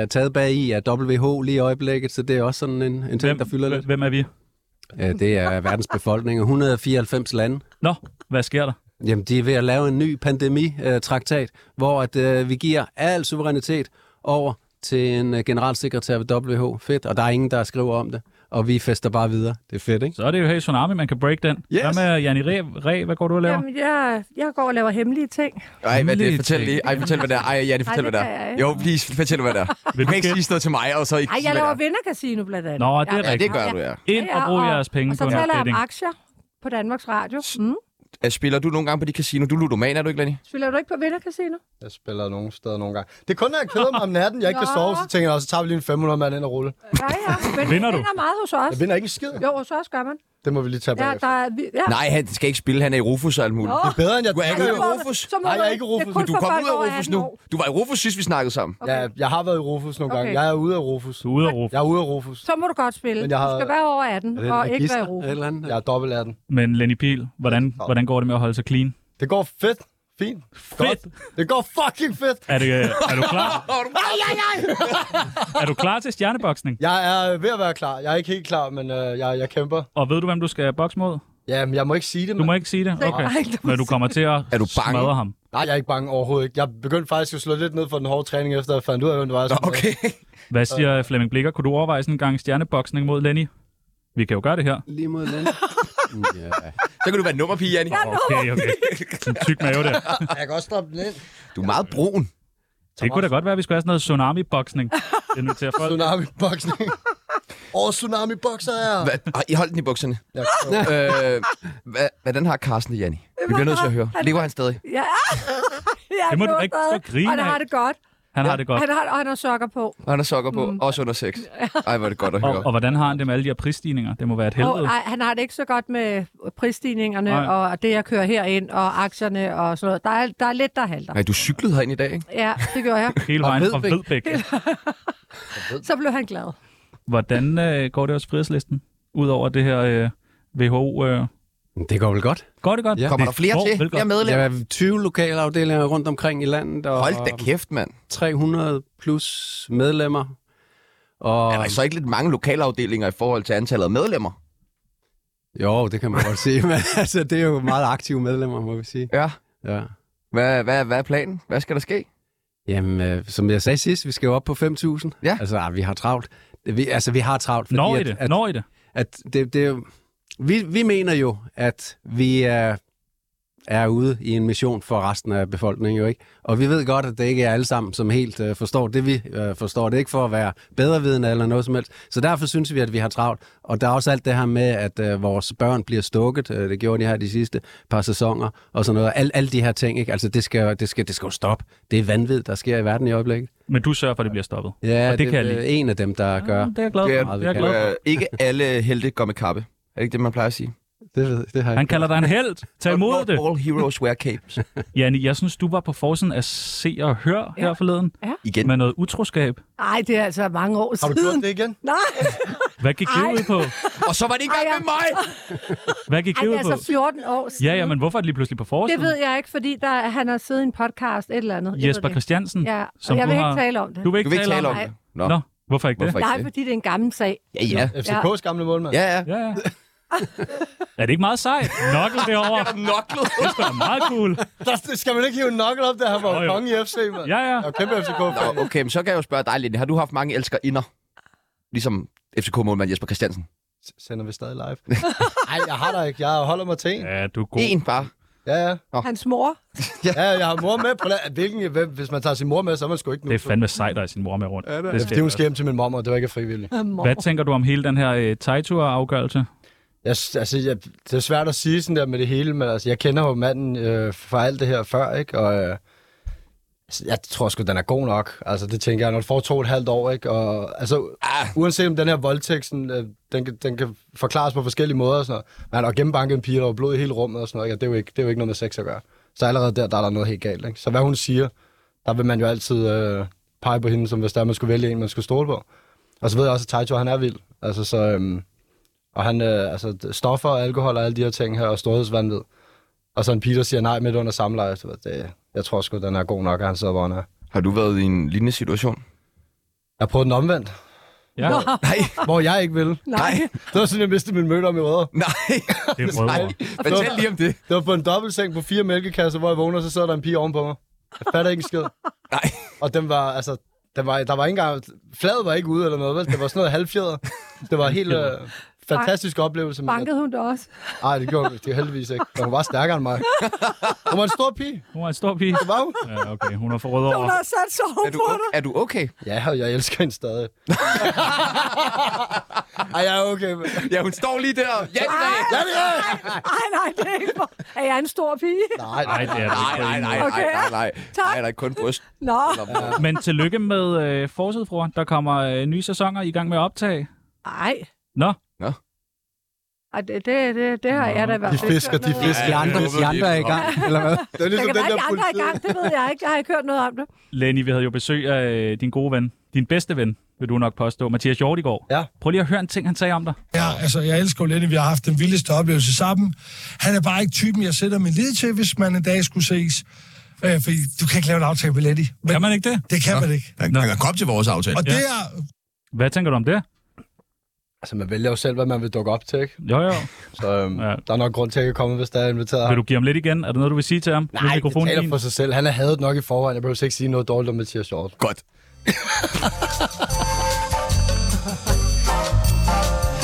Speaker 5: øh, taget bag i af WHO lige i øjeblikket, så det er også sådan en, en ting, der fylder lidt.
Speaker 4: hvem er vi?
Speaker 5: Øh, det er verdens befolkning, og 194 lande.
Speaker 4: Nå, hvad sker der?
Speaker 5: Jamen, de er ved at lave en ny pandemitraktat, hvor at, øh, vi giver al suverænitet over til en øh, generalsekretær ved WHO. Fedt, og der er ingen, der skriver om det. Og vi fester bare videre. Det er fedt, ikke?
Speaker 4: Så er det jo her i Tsunami, man kan break den. Yes. Hvad med Janni Re, Re? Hvad går du og laver?
Speaker 1: Jamen, jeg, jeg går og laver hemmelige ting.
Speaker 3: Ej, hvad er det?
Speaker 4: Hemmelige
Speaker 3: Fortæl lige. Ej, fortæl, hvad det er. Ej, Janne, fortæl,
Speaker 1: Ej,
Speaker 3: hvad
Speaker 1: det
Speaker 3: det
Speaker 1: kan jeg
Speaker 3: er.
Speaker 1: ikke.
Speaker 3: Jo, please, fortæl, hvad det er. Du
Speaker 4: Vil du
Speaker 3: kan ikke
Speaker 4: gætte?
Speaker 3: sige noget til mig, og så ikke
Speaker 1: Ej,
Speaker 3: sige,
Speaker 1: jeg
Speaker 3: hvad det
Speaker 1: laver
Speaker 3: er.
Speaker 1: vindercasino blandt andet.
Speaker 4: Nå, det er
Speaker 3: Ja,
Speaker 4: rigtigt.
Speaker 3: det gør du, ja.
Speaker 4: Ind og brug jeres penge
Speaker 1: og så
Speaker 4: på noget
Speaker 1: taler jeg
Speaker 4: betting.
Speaker 1: om aktier på Danmarks Radio. Mm.
Speaker 3: Øh, Spiller du nogle gange på de casino? Du er ludoman, er du ikke, Lenny?
Speaker 1: Spiller du ikke på vindercasino?
Speaker 2: Jeg spiller nogle steder nogle gange. Det er kun, når jeg keder mig om natten, jeg ikke kan
Speaker 1: Nå.
Speaker 2: sove, så tænker jeg, så tager vi lige en 500 mand ind og rulle.
Speaker 1: Ja, ja. Men
Speaker 4: Vinder du?
Speaker 1: vinder meget hos os.
Speaker 2: Jeg vinder ikke en skid.
Speaker 1: Jo, hos os gør man.
Speaker 2: Det må vi lige tage
Speaker 1: Ja,
Speaker 2: bagefter.
Speaker 1: der er, vi- ja.
Speaker 3: Nej, han skal ikke spille. Han er i Rufus og alt muligt.
Speaker 1: Nå.
Speaker 2: Det er bedre, end jeg
Speaker 3: Du er ikke
Speaker 2: tænker,
Speaker 3: i
Speaker 2: jo.
Speaker 1: må-
Speaker 3: Rufus.
Speaker 1: så må
Speaker 2: Nej, jeg
Speaker 1: du-
Speaker 2: er ikke Rufus.
Speaker 1: det
Speaker 3: Men
Speaker 1: kun
Speaker 3: du
Speaker 1: for
Speaker 3: kom
Speaker 1: folk
Speaker 3: ud af
Speaker 1: over
Speaker 3: Rufus
Speaker 1: 18
Speaker 3: nu.
Speaker 1: år.
Speaker 3: Du var i Rufus sidst, vi snakkede sammen.
Speaker 1: Okay.
Speaker 2: Ja, jeg har været i Rufus nogle gange.
Speaker 1: Okay.
Speaker 2: Jeg er ude af Rufus.
Speaker 4: Du er ude af Rufus.
Speaker 2: Jeg er ude af Rufus.
Speaker 1: Så må du godt spille.
Speaker 2: Men
Speaker 1: Jeg
Speaker 2: jeg
Speaker 1: har... Du
Speaker 2: har-
Speaker 1: skal være over 18
Speaker 5: Er det et
Speaker 1: og ikke være i
Speaker 5: register,
Speaker 1: Europa.
Speaker 5: et eller andet?
Speaker 2: Jeg er dobbelt 18.
Speaker 4: Men Lenny Pihl, hvordan, hvordan går det med at holde sig clean?
Speaker 2: Det går fedt. Fint.
Speaker 4: Fedt.
Speaker 2: Godt. Det går fucking fedt.
Speaker 4: Er, det, øh, er du klar? er du klar til stjerneboksning?
Speaker 2: Jeg er ved at være klar. Jeg er ikke helt klar, men øh, jeg, jeg kæmper.
Speaker 4: Og ved du, hvem du skal bokse mod?
Speaker 2: Jamen, jeg må ikke sige det,
Speaker 4: Du
Speaker 2: men...
Speaker 4: må ikke sige det? Okay.
Speaker 1: Nej, du må
Speaker 4: Men du kommer til at
Speaker 3: Er du bange?
Speaker 4: smadre ham.
Speaker 2: Nej, jeg er ikke bange overhovedet ikke. Jeg begyndte faktisk at slå lidt ned for den hårde træning, efter jeg fandt ud af, hvem det var. jeg skulle
Speaker 3: Okay.
Speaker 4: Hvad siger Flemming Blikker? Kunne du overveje sådan en gang stjerneboksning mod Lenny? Vi kan jo gøre det her.
Speaker 5: Lige mod land. ja.
Speaker 3: Så kan du være nummerpige, Janni.
Speaker 4: Okay, okay. Sådan en tyk mave der.
Speaker 2: med. Jeg kan også stoppe den ind.
Speaker 3: Du er meget brun.
Speaker 4: Det kunne da godt være, at vi skulle have sådan noget tsunami-boksning. Det inviterer folk.
Speaker 2: Tsunami-boksning. Åh, tsunami-bokser er...
Speaker 3: Hvad? Ej, I holdt den i bukserne.
Speaker 2: Jeg,
Speaker 3: Øh, hvad, hvordan har Carsten det, Janni? Vi bliver nødt til at høre. Lever han stadig?
Speaker 1: Ja. ja
Speaker 4: Det må
Speaker 1: lever
Speaker 4: du ikke
Speaker 1: stadig.
Speaker 4: gå og grine
Speaker 1: Og han har
Speaker 4: af.
Speaker 1: det godt.
Speaker 4: Han har det godt.
Speaker 1: Han har, og han har sokker på.
Speaker 3: Og han har sokker på. Også under sex. Ej, hvor er det godt at
Speaker 4: Og,
Speaker 3: høre.
Speaker 4: og hvordan har han det med alle de her prisstigninger? Det må være et
Speaker 1: Og,
Speaker 4: helvede.
Speaker 1: ej, han har det ikke så godt med prisstigningerne
Speaker 4: Nej.
Speaker 1: og det, jeg kører herind, og aktierne og sådan noget. Der er, der er lidt, der halter.
Speaker 3: Nej, du cyklede herind i dag, ikke?
Speaker 1: Ja, det gjorde jeg.
Speaker 4: Hele vejen fra
Speaker 5: Vedbæk.
Speaker 4: Vedbæk.
Speaker 1: Så blev han glad.
Speaker 4: Hvordan øh, går det hos frihedslisten? Udover det her øh, WHO... Øh,
Speaker 5: Det går vel godt.
Speaker 4: går det godt?
Speaker 5: Ja.
Speaker 3: Kommer
Speaker 4: Det
Speaker 3: der flere
Speaker 4: går
Speaker 3: til?
Speaker 4: vel godt.
Speaker 3: Flere medlemmer?
Speaker 5: Der er 20 lokalafdelinger rundt omkring i landet, og
Speaker 3: Hold da kæft, mand.
Speaker 5: 300 plus medlemmer. Og...
Speaker 3: Er der så ikke lidt mange lokalafdelinger i forhold til antallet af medlemmer?
Speaker 5: Jo, det kan man godt sige, men altså, det er jo meget aktive medlemmer, må vi sige.
Speaker 3: Ja.
Speaker 5: Ja.
Speaker 3: Hvad, hvad, hvad er planen? Hvad skal der ske?
Speaker 5: Jamen, øh, som jeg sagde sidst, vi skal jo op på 5.000.
Speaker 3: Ja.
Speaker 5: Altså, ah, vi har travlt. Det- Vi, altså, vi har travlt. fordi
Speaker 4: Når I
Speaker 5: at-
Speaker 4: det?
Speaker 5: At,
Speaker 4: Når I det?
Speaker 5: at det, det, er jo- vi, vi mener jo, at vi er, er ude i en mission for resten af befolkningen, jo ikke? Og vi ved godt, at det ikke er alle sammen, som helt øh, forstår det, vi øh, forstår. Det er ikke for at være bedrevidende eller noget som helst. Så derfor synes vi, at vi har travlt. Og der er også alt det her med, at øh, vores børn bliver stukket. Øh, det gjorde de her de sidste par sæsoner og sådan noget. Al, alle de her ting, ikke? Altså, det skal, det, skal, det skal jo stoppe. Det er vanvid, der sker i verden i øjeblikket.
Speaker 4: Men du sørger for, at det bliver stoppet.
Speaker 5: Ja,
Speaker 4: Og det kan jeg
Speaker 5: er en af dem, der gør.
Speaker 4: Det er jeg glad for.
Speaker 3: Det er-
Speaker 4: Det er jeg glad for.
Speaker 3: Øh, ikke alle helte går med kappe. Er det ikke det, man plejer at sige?
Speaker 5: Det, ved, det har jeg
Speaker 4: Han kalder dig en held. Tag imod
Speaker 3: Not
Speaker 4: det.
Speaker 3: All heroes wear capes.
Speaker 4: Janne, jeg synes, du var på forsiden af Se og Hør her forleden.
Speaker 3: Igen.
Speaker 4: Med noget utroskab.
Speaker 1: Nej, det er altså mange år
Speaker 2: har du
Speaker 1: siden.
Speaker 2: gjort det igen?
Speaker 1: Nej,
Speaker 4: Hvad gik det
Speaker 1: Ej.
Speaker 4: ud på?
Speaker 3: Og så var det ikke
Speaker 1: Ej, ja.
Speaker 3: engang med mig!
Speaker 4: Hvad gik
Speaker 1: Ej,
Speaker 4: det
Speaker 1: det
Speaker 4: ud
Speaker 1: er
Speaker 4: på?
Speaker 1: altså 14 år siden.
Speaker 4: Ja, ja, men hvorfor er det lige pludselig på
Speaker 1: Det
Speaker 4: forsiden?
Speaker 1: ved jeg ikke, fordi der, han har siddet i en podcast, et eller andet. Jeg ved
Speaker 4: Jesper
Speaker 1: det ikke.
Speaker 4: Christiansen,
Speaker 1: Ja, og
Speaker 4: som
Speaker 1: jeg
Speaker 4: du
Speaker 1: vil
Speaker 4: har...
Speaker 1: ikke tale om det.
Speaker 4: Du vil
Speaker 3: Du
Speaker 4: ikke
Speaker 3: vil ikke tale om
Speaker 1: Nej.
Speaker 3: det. Nå.
Speaker 4: Nå, hvorfor ikke
Speaker 3: Hvorfor
Speaker 4: det?
Speaker 1: Nej,
Speaker 3: ikke det?
Speaker 1: fordi det er en gammel sag.
Speaker 3: Ja, ja.
Speaker 2: FCK's gamle målmand.
Speaker 3: Ja, ja.
Speaker 4: Ja, ja. Er det ikke meget sejt? Nokkel derovre.
Speaker 3: Noklet.
Speaker 4: Det skulle da meget cool.
Speaker 2: Der- Det skal man ikke hive en knuckle op, der han var
Speaker 4: Jo, jo.
Speaker 2: konge i FC, mand.
Speaker 4: Ja, ja.
Speaker 2: Jeg er kæmpe fck fan
Speaker 3: Nå, okay, men så kan jeg jo spørge dig, Lenny. Har du haft mange elskerinder? Ligesom FCK-målmand Jesper Christiansen.
Speaker 2: Sender vi stadig live? Nej, jeg har der ikke. Jeg holder mig til en.
Speaker 4: Ja, du er god.
Speaker 3: En bare.
Speaker 2: Ja, ja.
Speaker 1: Hans mor.
Speaker 2: Ja, jeg har mor med. På la- Hvilken, hvem- hvis man tager sin mor med, så er man sgu ikke nu.
Speaker 4: Det er fandme sejt, at sin mor er med rundt.
Speaker 5: det er
Speaker 4: skal
Speaker 2: Det er
Speaker 4: jeg
Speaker 2: hun skal hjem til min mor, og det var ikke frivilligt.
Speaker 4: også.
Speaker 1: mor.
Speaker 4: Hvad tænker du om hele den her øh, Taitur-afgørelse?
Speaker 2: Jeg, s- altså, jeg, det er svært at sige sådan der med det hele, men altså, jeg kender jo manden øh, fra alt det her før, ikke? Og øh, altså, jeg tror sgu, den er god nok. Altså, det tænker jeg, når du får to og et halvt år, ikke? Og, altså,
Speaker 3: Ah.
Speaker 2: uanset om den her voldtægt, sådan, øh, den, kan- den kan forklares på forskellige måder og sådan noget. Men han har gennembanket en pige, der var blod i hele rummet og sådan noget, ikke? Og det er jo ikke, det er jo ikke noget med sex at gøre. Så allerede der, der er der noget helt galt, ikke? Så hvad hun siger, der vil man jo altid øh, pege på hende, som hvis der er, man skulle vælge en, man skulle stole på. Og så ved jeg også, at Taito, han er vild. Altså, så... Øh, og han, øh, altså, stoffer og alkohol og alle de her ting her, og storhedsvandvid. Og så en Peter siger nej midt under samleje. Så ved jeg, det, jeg tror sgu, den er god nok, at han sidder, hvor han er.
Speaker 3: Har du været i en lignende situation?
Speaker 2: Jeg prøvede den omvendt,
Speaker 4: Ja,
Speaker 3: Nej,
Speaker 2: hvor jeg ikke ville.
Speaker 1: Nej.
Speaker 2: Det var sådan, jeg mistede min møder om i rødder.
Speaker 3: nej,
Speaker 4: det er
Speaker 3: nej.
Speaker 4: brødre.
Speaker 3: Fortæl lige om det.
Speaker 2: Det var på en dobbeltseng på fire mælkekasser, hvor jeg vågner, så sidder der en pige ovenpå mig. Jeg fatter ikke en skid.
Speaker 3: Nej.
Speaker 2: Og den var, altså, den var, der var ikke engang, fladet var ikke ude eller noget, vel? Det var sådan noget halvfjeder. Det var en helt øh, fantastisk oplevelse. men jeg-
Speaker 1: Bankede hun det også?
Speaker 2: Nej, det gjorde det jo heldigvis ikke. Men Hun var stærkere end mig. Hun var en stor pige.
Speaker 4: Hun er en stor pige.
Speaker 2: Det var hun.
Speaker 4: Ja, okay, hun har fået rød over.
Speaker 1: Hun har sat sig
Speaker 3: Er du,
Speaker 1: på
Speaker 3: o-
Speaker 1: dig.
Speaker 3: er du okay?
Speaker 2: Ja, og jeg elsker hende stadig. Ej, jeg er okay. men-
Speaker 3: Ja, hun står lige der. Ja, det er
Speaker 2: Ja, det er jeg.
Speaker 1: Nej, nej, det er ikke for- Er jeg en stor pige?
Speaker 2: Nej,
Speaker 4: Nej, det er det
Speaker 3: Nej,
Speaker 4: ikke. på
Speaker 3: nej,
Speaker 4: en
Speaker 3: nej,
Speaker 4: måde.
Speaker 3: nej, nej, nej.
Speaker 1: Tak.
Speaker 3: Nej, der er kun bryst.
Speaker 1: Nå,
Speaker 4: Men tillykke med øh, Forsædefruer. Der kommer øh, nye sæsoner i gang med at optage.
Speaker 1: nej.
Speaker 4: Nå,
Speaker 1: Ej, det, det, det, det har jeg da i hvert
Speaker 2: De
Speaker 1: fald ikke
Speaker 2: fisker,
Speaker 1: hørt
Speaker 2: de
Speaker 1: noget om.
Speaker 2: fisker.
Speaker 5: De andre, de andre er i gang, eller hvad?
Speaker 2: Det er
Speaker 1: Der
Speaker 2: ligesom
Speaker 1: kan
Speaker 2: den
Speaker 1: være
Speaker 2: der
Speaker 1: ikke andre i
Speaker 2: politi.
Speaker 1: gang, det ved jeg ikke. Jeg har ikke hørt noget om det.
Speaker 4: Lenny, vi havde jo besøg af øh, din gode ven. Din bedste ven, vil du nok påstå. Mathias Hjort i går.
Speaker 2: Ja.
Speaker 4: Prøv lige at høre en ting, han sagde om dig.
Speaker 7: Ja, altså, jeg elsker jo Lenny. Vi har haft den vildeste oplevelse sammen. Han er bare ikke typen, jeg sætter min lid til, hvis man en dag skulle ses. Øh, fordi du kan ikke lave en aftale med Lenny. Men
Speaker 4: Kan man ikke det?
Speaker 7: det kan man ikke.
Speaker 8: Han, han kan komme til vores aftale.
Speaker 7: Og det er...
Speaker 4: Hvad tænker du om det?
Speaker 2: Altså, man vælger jo selv, hvad man vil dukke op til, ikke?
Speaker 4: Jo, jo.
Speaker 2: Så øhm,
Speaker 4: Ja.
Speaker 2: ja. der er nok grund til, at jeg kan komme, hvis der er inviteret
Speaker 4: Vil
Speaker 2: ham.
Speaker 4: du give ham lidt igen? Er der noget, du vil sige til ham? Nu
Speaker 2: Nej,
Speaker 4: er
Speaker 2: det
Speaker 4: mikrofonen
Speaker 2: taler
Speaker 4: din.
Speaker 2: for sig selv. Han er hadet nok i forvejen. Jeg behøver ikke sige noget dårligt om Mathias Hjort.
Speaker 3: Godt.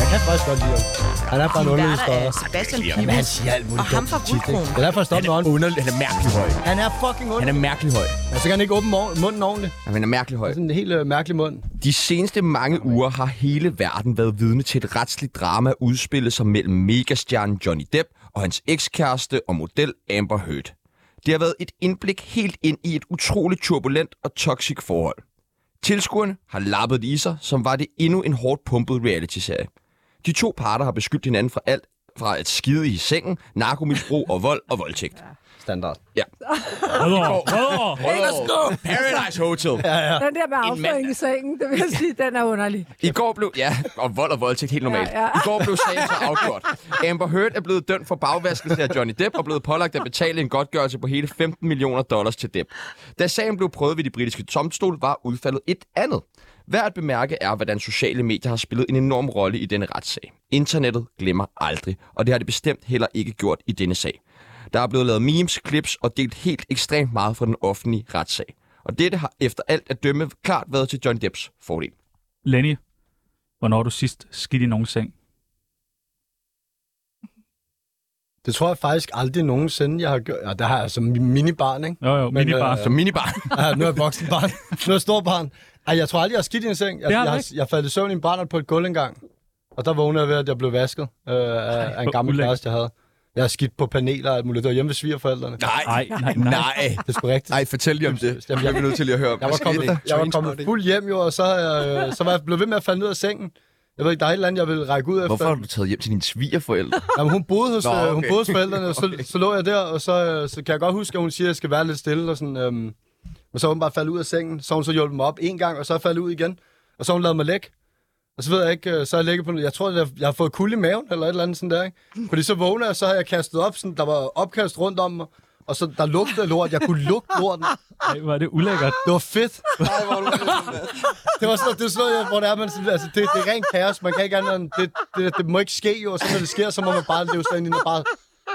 Speaker 2: Jeg kan faktisk godt lide ham. Han er bare en
Speaker 6: Hun
Speaker 2: underlig
Speaker 6: værter
Speaker 2: større.
Speaker 6: af Sebastian
Speaker 2: Men han
Speaker 6: Pibus
Speaker 2: siger alt muligt.
Speaker 6: og ham fra
Speaker 2: dumt tit, ikke?
Speaker 6: Guldkronen.
Speaker 2: Det er derfor, jeg stopper med ånden.
Speaker 3: Underlig. Han er mærkelig høj.
Speaker 2: Han er fucking ond.
Speaker 3: Han er mærkelig høj.
Speaker 2: Men så kan han ikke åbne mor- munden ordentligt.
Speaker 3: Ja, Han er mærkelig høj.
Speaker 2: Sådan en helt øh, mærkelig mund.
Speaker 3: De seneste mange uger har hele verden været vidne til et retsligt drama udspillet sig mellem megastjernen Johnny Depp og hans ekskæreste og model Amber Heard. Det har været et indblik helt ind i et utroligt turbulent og toxic forhold. Tilskuerne har lappet det i sig, som var det endnu en hårdt pumpet reality-serie. De to parter har beskyldt hinanden for alt fra at skide i sengen, narkomisbrug og vold og voldtægt.
Speaker 2: Standard.
Speaker 4: Rød over. Rød over.
Speaker 3: Oh, Paradise Hotel!
Speaker 1: Den der med
Speaker 3: mand,
Speaker 1: afføring i sengen, det vil jeg sige, den er underlig.
Speaker 3: I går blev... Ja, og vold og voldtægt, helt normalt.
Speaker 1: Ja, ja.
Speaker 3: I går blev sagen så afgjort. Amber Heard er blevet dømt for bagvaskelse af Johnny Depp og blevet pålagt at betale en godtgørelse på hele 15 millioner dollars til Depp. Da sagen blev prøvet ved de britiske domstol, var udfaldet et andet. Værd at bemærke er, hvordan sociale medier har spillet en enorm rolle i denne retssag. Internettet glemmer aldrig, og det har det bestemt heller ikke gjort i denne sag. Der er blevet lavet memes, clips og delt helt ekstremt meget fra den offentlige retssag. Og dette har efter alt at dømme klart været til Johnny Depps fordel.
Speaker 4: Lenny, hvornår har du sidst skidt i nogens seng?
Speaker 2: Det tror jeg faktisk aldrig nogensinde, jeg har gjort. Ja, der har jeg som minibarn, ikke?
Speaker 4: Jo, jo,
Speaker 2: Men,
Speaker 4: minibar.
Speaker 2: øh,
Speaker 3: Som minibar.
Speaker 2: Ja, nu er jeg voksen barn. Nu er jeg stor barn. Ej, jeg tror aldrig, jeg har skidt i en seng. Jeg,
Speaker 4: Det har
Speaker 2: jeg,
Speaker 4: du
Speaker 2: jeg,
Speaker 4: ikke.
Speaker 2: jeg faldt i søvn i en barnert på et gulv engang. Og der vågnede jeg ved, at jeg blev vasket øh, af, af en
Speaker 4: hvor
Speaker 2: gammel
Speaker 4: ulækkert.
Speaker 2: kæreste, jeg havde. Jeg har skidt på paneler og alt muligt. Det var hjemme ved svigerforældrene.
Speaker 3: Nej,
Speaker 4: Nej, nej, nej.
Speaker 3: nej.
Speaker 2: Det er sgu rigtigt.
Speaker 3: Nej, fortæl lige om det.
Speaker 2: Jamen,
Speaker 3: Jeg bliver nødt til lige at høre om
Speaker 2: Jeg var kommet, jeg var kommet fuld hjem jo, og så, øh, så var jeg blevet ved med at falde ned af sengen. Jeg ved ikke, der er et eller andet, jeg ville række ud efter.
Speaker 3: Hvorfor har du taget hjem til dine svigerforældre?
Speaker 2: Jamen, hun boede hos,
Speaker 3: Nå,
Speaker 2: Nå, okay. øh, hun
Speaker 3: okay.
Speaker 2: boede hos forældrene, og så, okay. så lå jeg der, og så, øh, så kan jeg godt huske, at hun siger, at jeg skal være lidt stille. Og sådan, øhm, men så er hun bare faldet ud af sengen, så har hun så hjulpet mig op en gang, og så er jeg faldet ud igen. Og så har hun lavet mig læk. Og så ved jeg ikke, øh, så har jeg ligget på noget. Jeg tror, at jeg, jeg har fået kulde i maven, eller et eller andet sådan der, ikke? Fordi så vågner jeg, og så har jeg kastet op, sådan, der var opkast rundt om mig. Og så der lugtede af lort. Jeg kunne lugte lorten.
Speaker 4: Ej, hvor er det ulækkert.
Speaker 2: Det var fedt. det var sådan, det er sådan noget, hvor det er, man sådan, altså, det, det er rent kaos. Man kan ikke andet end, det, det, det må ikke ske jo, og så når det sker, så må man bare leve sig ind i det og bare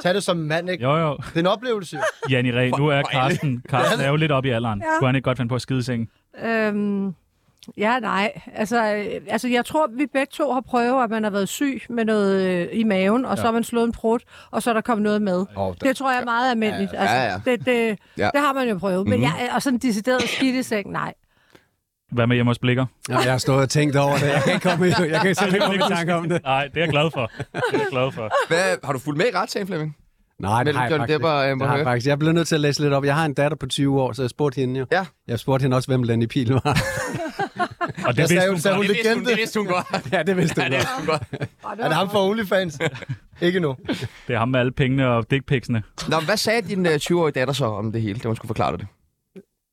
Speaker 2: tage det som en mand, ikke?
Speaker 4: Jo, jo.
Speaker 2: Det er en oplevelse. jo.
Speaker 4: Janni Ræ, nu er Karsten, Karsten er jo lidt oppe i alderen.
Speaker 1: Ja.
Speaker 4: Kunne han ikke godt finde på at skide i sengen?
Speaker 1: Øhm, ja, nej. Altså, øh, altså, jeg tror, vi begge to har prøvet, at man har været syg med noget øh, i maven, og ja. så har man slået en prut, og så er der kommet noget med.
Speaker 2: Åh,
Speaker 1: det tror jeg er meget almindeligt. Ja,
Speaker 3: ja,
Speaker 1: Altså, det, det,
Speaker 3: Ja.
Speaker 1: ja. det har man jo prøvet. Men jeg, og sådan decideret skidt i seng, nej.
Speaker 4: Hvad med hjemme hos Blikker?
Speaker 5: Jamen, jeg har stået og tænkt over det. Jeg kan ikke komme i, jeg kan simpelthen ikke komme i tanke om det.
Speaker 4: Nej, det er jeg glad for. Det er jeg glad for.
Speaker 3: Hvad, har du fulgt med i retssagen, Flemming?
Speaker 5: Nej, det
Speaker 3: Mellem
Speaker 5: har jeg
Speaker 3: Johnny
Speaker 5: faktisk
Speaker 3: Depp og
Speaker 5: ikke.
Speaker 3: Amber
Speaker 5: Det har jeg
Speaker 3: Heard.
Speaker 5: faktisk. Jeg blev nødt til at læse lidt op. Jeg har en datter på 20 år, så jeg spurgte hende jo.
Speaker 3: Ja.
Speaker 5: Jeg spurgte hende også, hvem Lenny Pihl var.
Speaker 4: Og det
Speaker 2: Jeg sagde
Speaker 4: vidste
Speaker 2: jo,
Speaker 4: hun
Speaker 2: sagde
Speaker 4: godt.
Speaker 2: hun legende.
Speaker 3: vidste hun godt.
Speaker 5: ja, det vidste du godt.
Speaker 3: hun godt.
Speaker 2: Er det ham fra OnlyFans? Ikke nu.
Speaker 4: Det er ham med alle pengene og dickpicsene.
Speaker 3: Nå, hvad sagde din øh, 20-årige datter så om det hele, da hun skulle forklare dig det?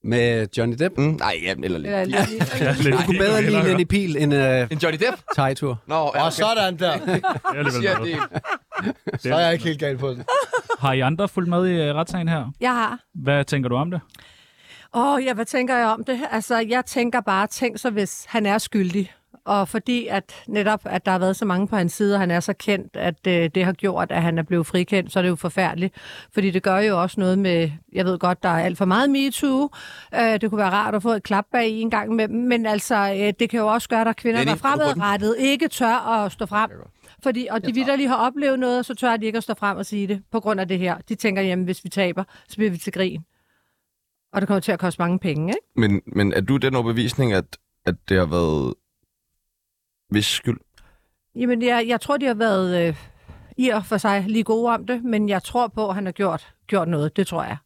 Speaker 5: Med Johnny Depp.
Speaker 3: Mm, nej, ja, eller lidt.
Speaker 1: Eller,
Speaker 4: Ja, lidt
Speaker 5: Du kunne bedre lide Lenny Pihl end uh,
Speaker 3: En Johnny Depp?
Speaker 5: Tejtur.
Speaker 3: Nå, ja,
Speaker 2: Og sådan der.
Speaker 4: Det er alligevel
Speaker 3: siger
Speaker 4: noget.
Speaker 3: det.
Speaker 2: Så er jeg ikke helt gal på den.
Speaker 4: Har I andre fulgt med i øh, retssagen her?
Speaker 1: Jeg har.
Speaker 4: Hvad tænker du om det?
Speaker 1: Åh, oh, ja, hvad tænker jeg om det? Altså, jeg tænker bare, tænk så, hvis han er skyldig. Og fordi at netop, at der har været så mange på hans side, og han er så kendt, at øh, det har gjort, at han er blevet frikendt, så er det jo forfærdeligt. Fordi det gør jo også noget med, jeg ved godt, der er alt for meget MeToo. Øh, det kunne være rart at få et klap bag i en gang med men altså, øh, det kan jo også gøre, at der er kvinder,
Speaker 3: Lenny,
Speaker 1: der
Speaker 3: er du på den?
Speaker 1: fremadrettet ikke tør at stå frem. Fordi, og de vidderlige har oplevet noget, og så tør de ikke at stå frem og sige det, på grund af det her. De tænker, jamen hvis vi taber, så bliver vi til grin. Og det kommer til at koste mange penge, ikke?
Speaker 3: Men, men er du den overbevisning, at, at det har været hvis skyld?
Speaker 1: Jamen, jeg, jeg tror, de har været øh, i og for sig lige gode om det, men jeg tror på, at han har gjort, gjort noget. Det tror jeg.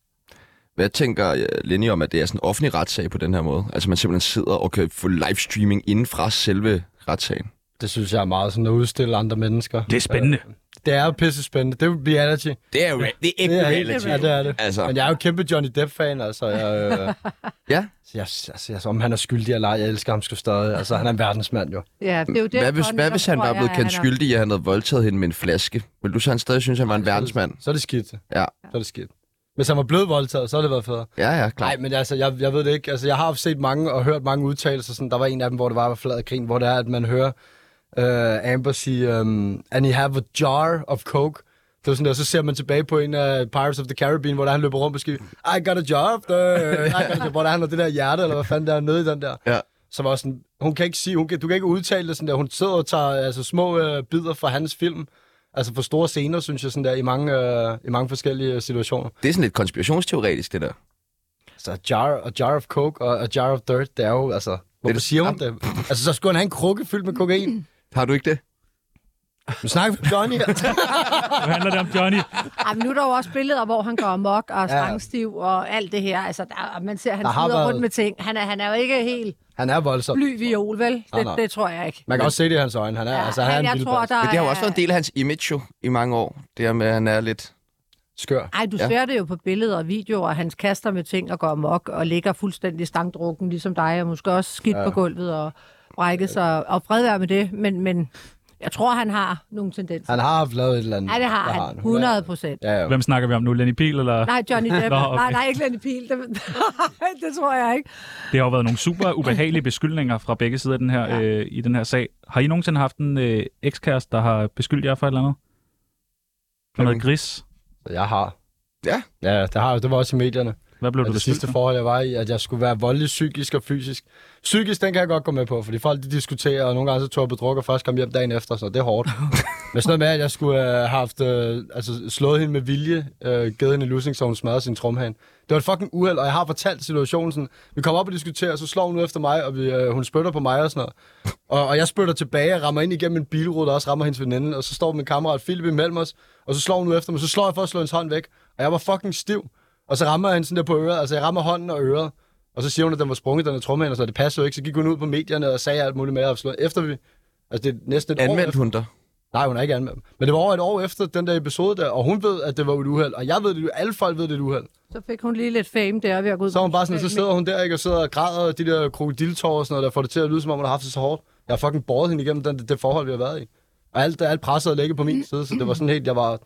Speaker 3: Hvad tænker øh, Lenny om, at det er sådan en offentlig retssag på den her måde? Altså man simpelthen sidder og kan få livestreaming inden fra selve retssagen.
Speaker 2: Det synes jeg er meget sådan at udstille andre mennesker.
Speaker 4: Det er spændende.
Speaker 2: Det er jo pisse spændende. Det er jo reality.
Speaker 3: Det er jo det er
Speaker 2: Det er reality. Ja, det er det.
Speaker 3: Altså.
Speaker 2: Men jeg er jo kæmpe Johnny Depp-fan, altså. Jeg, øh,
Speaker 3: Ja.
Speaker 2: jeg, altså, jeg, om han er skyldig eller ej, jeg elsker ham sgu stadig. Altså, han er en verdensmand jo.
Speaker 1: Ja, det er jo det,
Speaker 3: Hvad hvis, hvad hvis han var blevet kendt skyldig, at han havde voldtaget hende med en flaske? Vil du så han stadig synes, han var en verdensmand?
Speaker 2: Så er det skidt.
Speaker 3: Ja,
Speaker 2: Så er det skidt. Hvis han var blevet voldtaget, så havde det været federe.
Speaker 3: ja, ja
Speaker 2: Nej,
Speaker 3: klart.
Speaker 2: men altså, jeg, jeg ved det ikke. Altså, jeg har set mange og hørt mange udtalelser. Sådan, der var en af dem, hvor det var flad af grin, hvor det er, at man hører uh, Amber sige, um, and he have a jar of coke. Det var sådan der, så ser man tilbage på en af Pirates of the Caribbean, hvor der han løber rundt på skib. I got a jar of the... I got a jar. Hvor der han har det der hjerte, eller hvad fanden der er nede i den der.
Speaker 3: Ja.
Speaker 2: Så var sådan, hun kan ikke sige, hun kan, du kan ikke udtale det sådan der. Hun sidder og tager altså, små øh, bidder fra hans film. Altså for store scener, synes jeg, sådan der, i mange, øh, i mange forskellige situationer.
Speaker 3: Det er sådan lidt konspirationsteoretisk, det der.
Speaker 2: Altså, a jar, a jar of coke og a jar of dirt, det er jo, altså... Hvorfor
Speaker 3: det
Speaker 2: siger hun det? Altså, så skulle han have en krukke fyldt med kokain.
Speaker 3: Har du ikke det?
Speaker 2: Nu snakker vi om Johnny her.
Speaker 4: Nu handler det om Johnny.
Speaker 1: Jamen, nu er der jo også billeder, hvor han går amok og er stangstiv og alt det her. Altså, der, man ser, han
Speaker 2: Der har
Speaker 1: sidder
Speaker 2: været-
Speaker 1: rundt med ting. Han er, han er jo ikke helt
Speaker 2: Han er voldsom.
Speaker 1: bly viol, vel?
Speaker 2: Nej,
Speaker 1: Det,
Speaker 2: nej.
Speaker 1: det tror jeg ikke.
Speaker 2: Man kan også se det i hans øjne. Han er, altså, han er en
Speaker 1: jeg
Speaker 2: vild
Speaker 1: tror,
Speaker 2: bas.
Speaker 1: der
Speaker 3: Men det har jo
Speaker 1: er-
Speaker 3: også været en del af hans image jo, i mange år. Det her med, at han er lidt...
Speaker 2: Skør.
Speaker 1: Ej, du
Speaker 3: Ja.
Speaker 1: ja. ser det jo på billeder og videoer, at han kaster med ting og går amok og ligger fuldstændig stangdrukken, ligesom dig, og måske også skidt ja. på gulvet og brækket sig. Og fred være med det, men, men jeg tror, han har nogle tendenser.
Speaker 2: Han har haft lavet et eller andet.
Speaker 1: Ja, det har han. 100 procent.
Speaker 2: Ja, ja.
Speaker 4: Hvem snakker vi om nu? Lenny Pihl? Eller?
Speaker 1: Nej, Johnny Depp.
Speaker 4: Nå, okay.
Speaker 1: Nej, nej, ikke Lenny Pihl. Det, det tror jeg ikke.
Speaker 4: Det har jo været nogle super ubehagelige beskyldninger fra begge sider af den her, ja. øh, i den her sag. Har I nogensinde haft en øh, ekskæreste, der har beskyldt jer for et eller andet? For noget gris?
Speaker 2: Så Jeg har.
Speaker 3: Ja.
Speaker 2: Ja, det har jeg. Det var også i medierne.
Speaker 4: Hvad blev
Speaker 2: Og
Speaker 4: du
Speaker 2: det
Speaker 4: beskyldt
Speaker 2: sidste
Speaker 4: for?
Speaker 2: forhold, jeg var i, at jeg skulle være voldelig psykisk og fysisk. Psykisk, den kan jeg godt gå med på, fordi folk de diskuterer, og nogle gange så tog jeg på druk og først kom hjem dagen efter, så det er hårdt. Men sådan noget med, at jeg skulle øh, have haft, øh, altså, slået hende med vilje, øh, givet hende en lussing, så hun smadrede sin trumhand. Det var et fucking uheld, og jeg har fortalt situationen sådan, vi kommer op og diskuterer, og så slår hun ud efter mig, og vi, øh, hun spytter på mig og sådan noget. Og, og jeg spytter tilbage og rammer ind igennem en bilrude, der også rammer hendes veninde, og så står min kammerat Philip imellem os, og så slår hun ud efter mig, så slår jeg for at slå hendes hånd væk, og jeg var fucking stiv. Og så rammer han sådan der på øret, altså jeg rammer hånden og øret, og så siger hun, at den var sprunget, den er trumhænd, og så det passede jo ikke, så gik hun ud på medierne og sagde alt muligt med, at slået efter vi, altså det er næsten et år
Speaker 3: Anvendt hun dig?
Speaker 2: Nej, hun er ikke anmeldt. Men det var over et år efter den der episode der, og hun ved, at det var et uheld, og jeg ved det, alle folk ved, det er et uheld.
Speaker 1: Så fik hun lige lidt fame der ved at gå ud.
Speaker 2: Så er hun bare sådan, så
Speaker 1: sociale
Speaker 2: sidder hun der ikke, og sidder og græder, og de der krokodiltårer og sådan noget, der får det til at lyde, som om hun har haft det så hårdt. Jeg har fucking båret hende igennem den, det forhold, vi har været i. Og alt, alt presset er ligget på min side, så det var sådan helt, jeg var,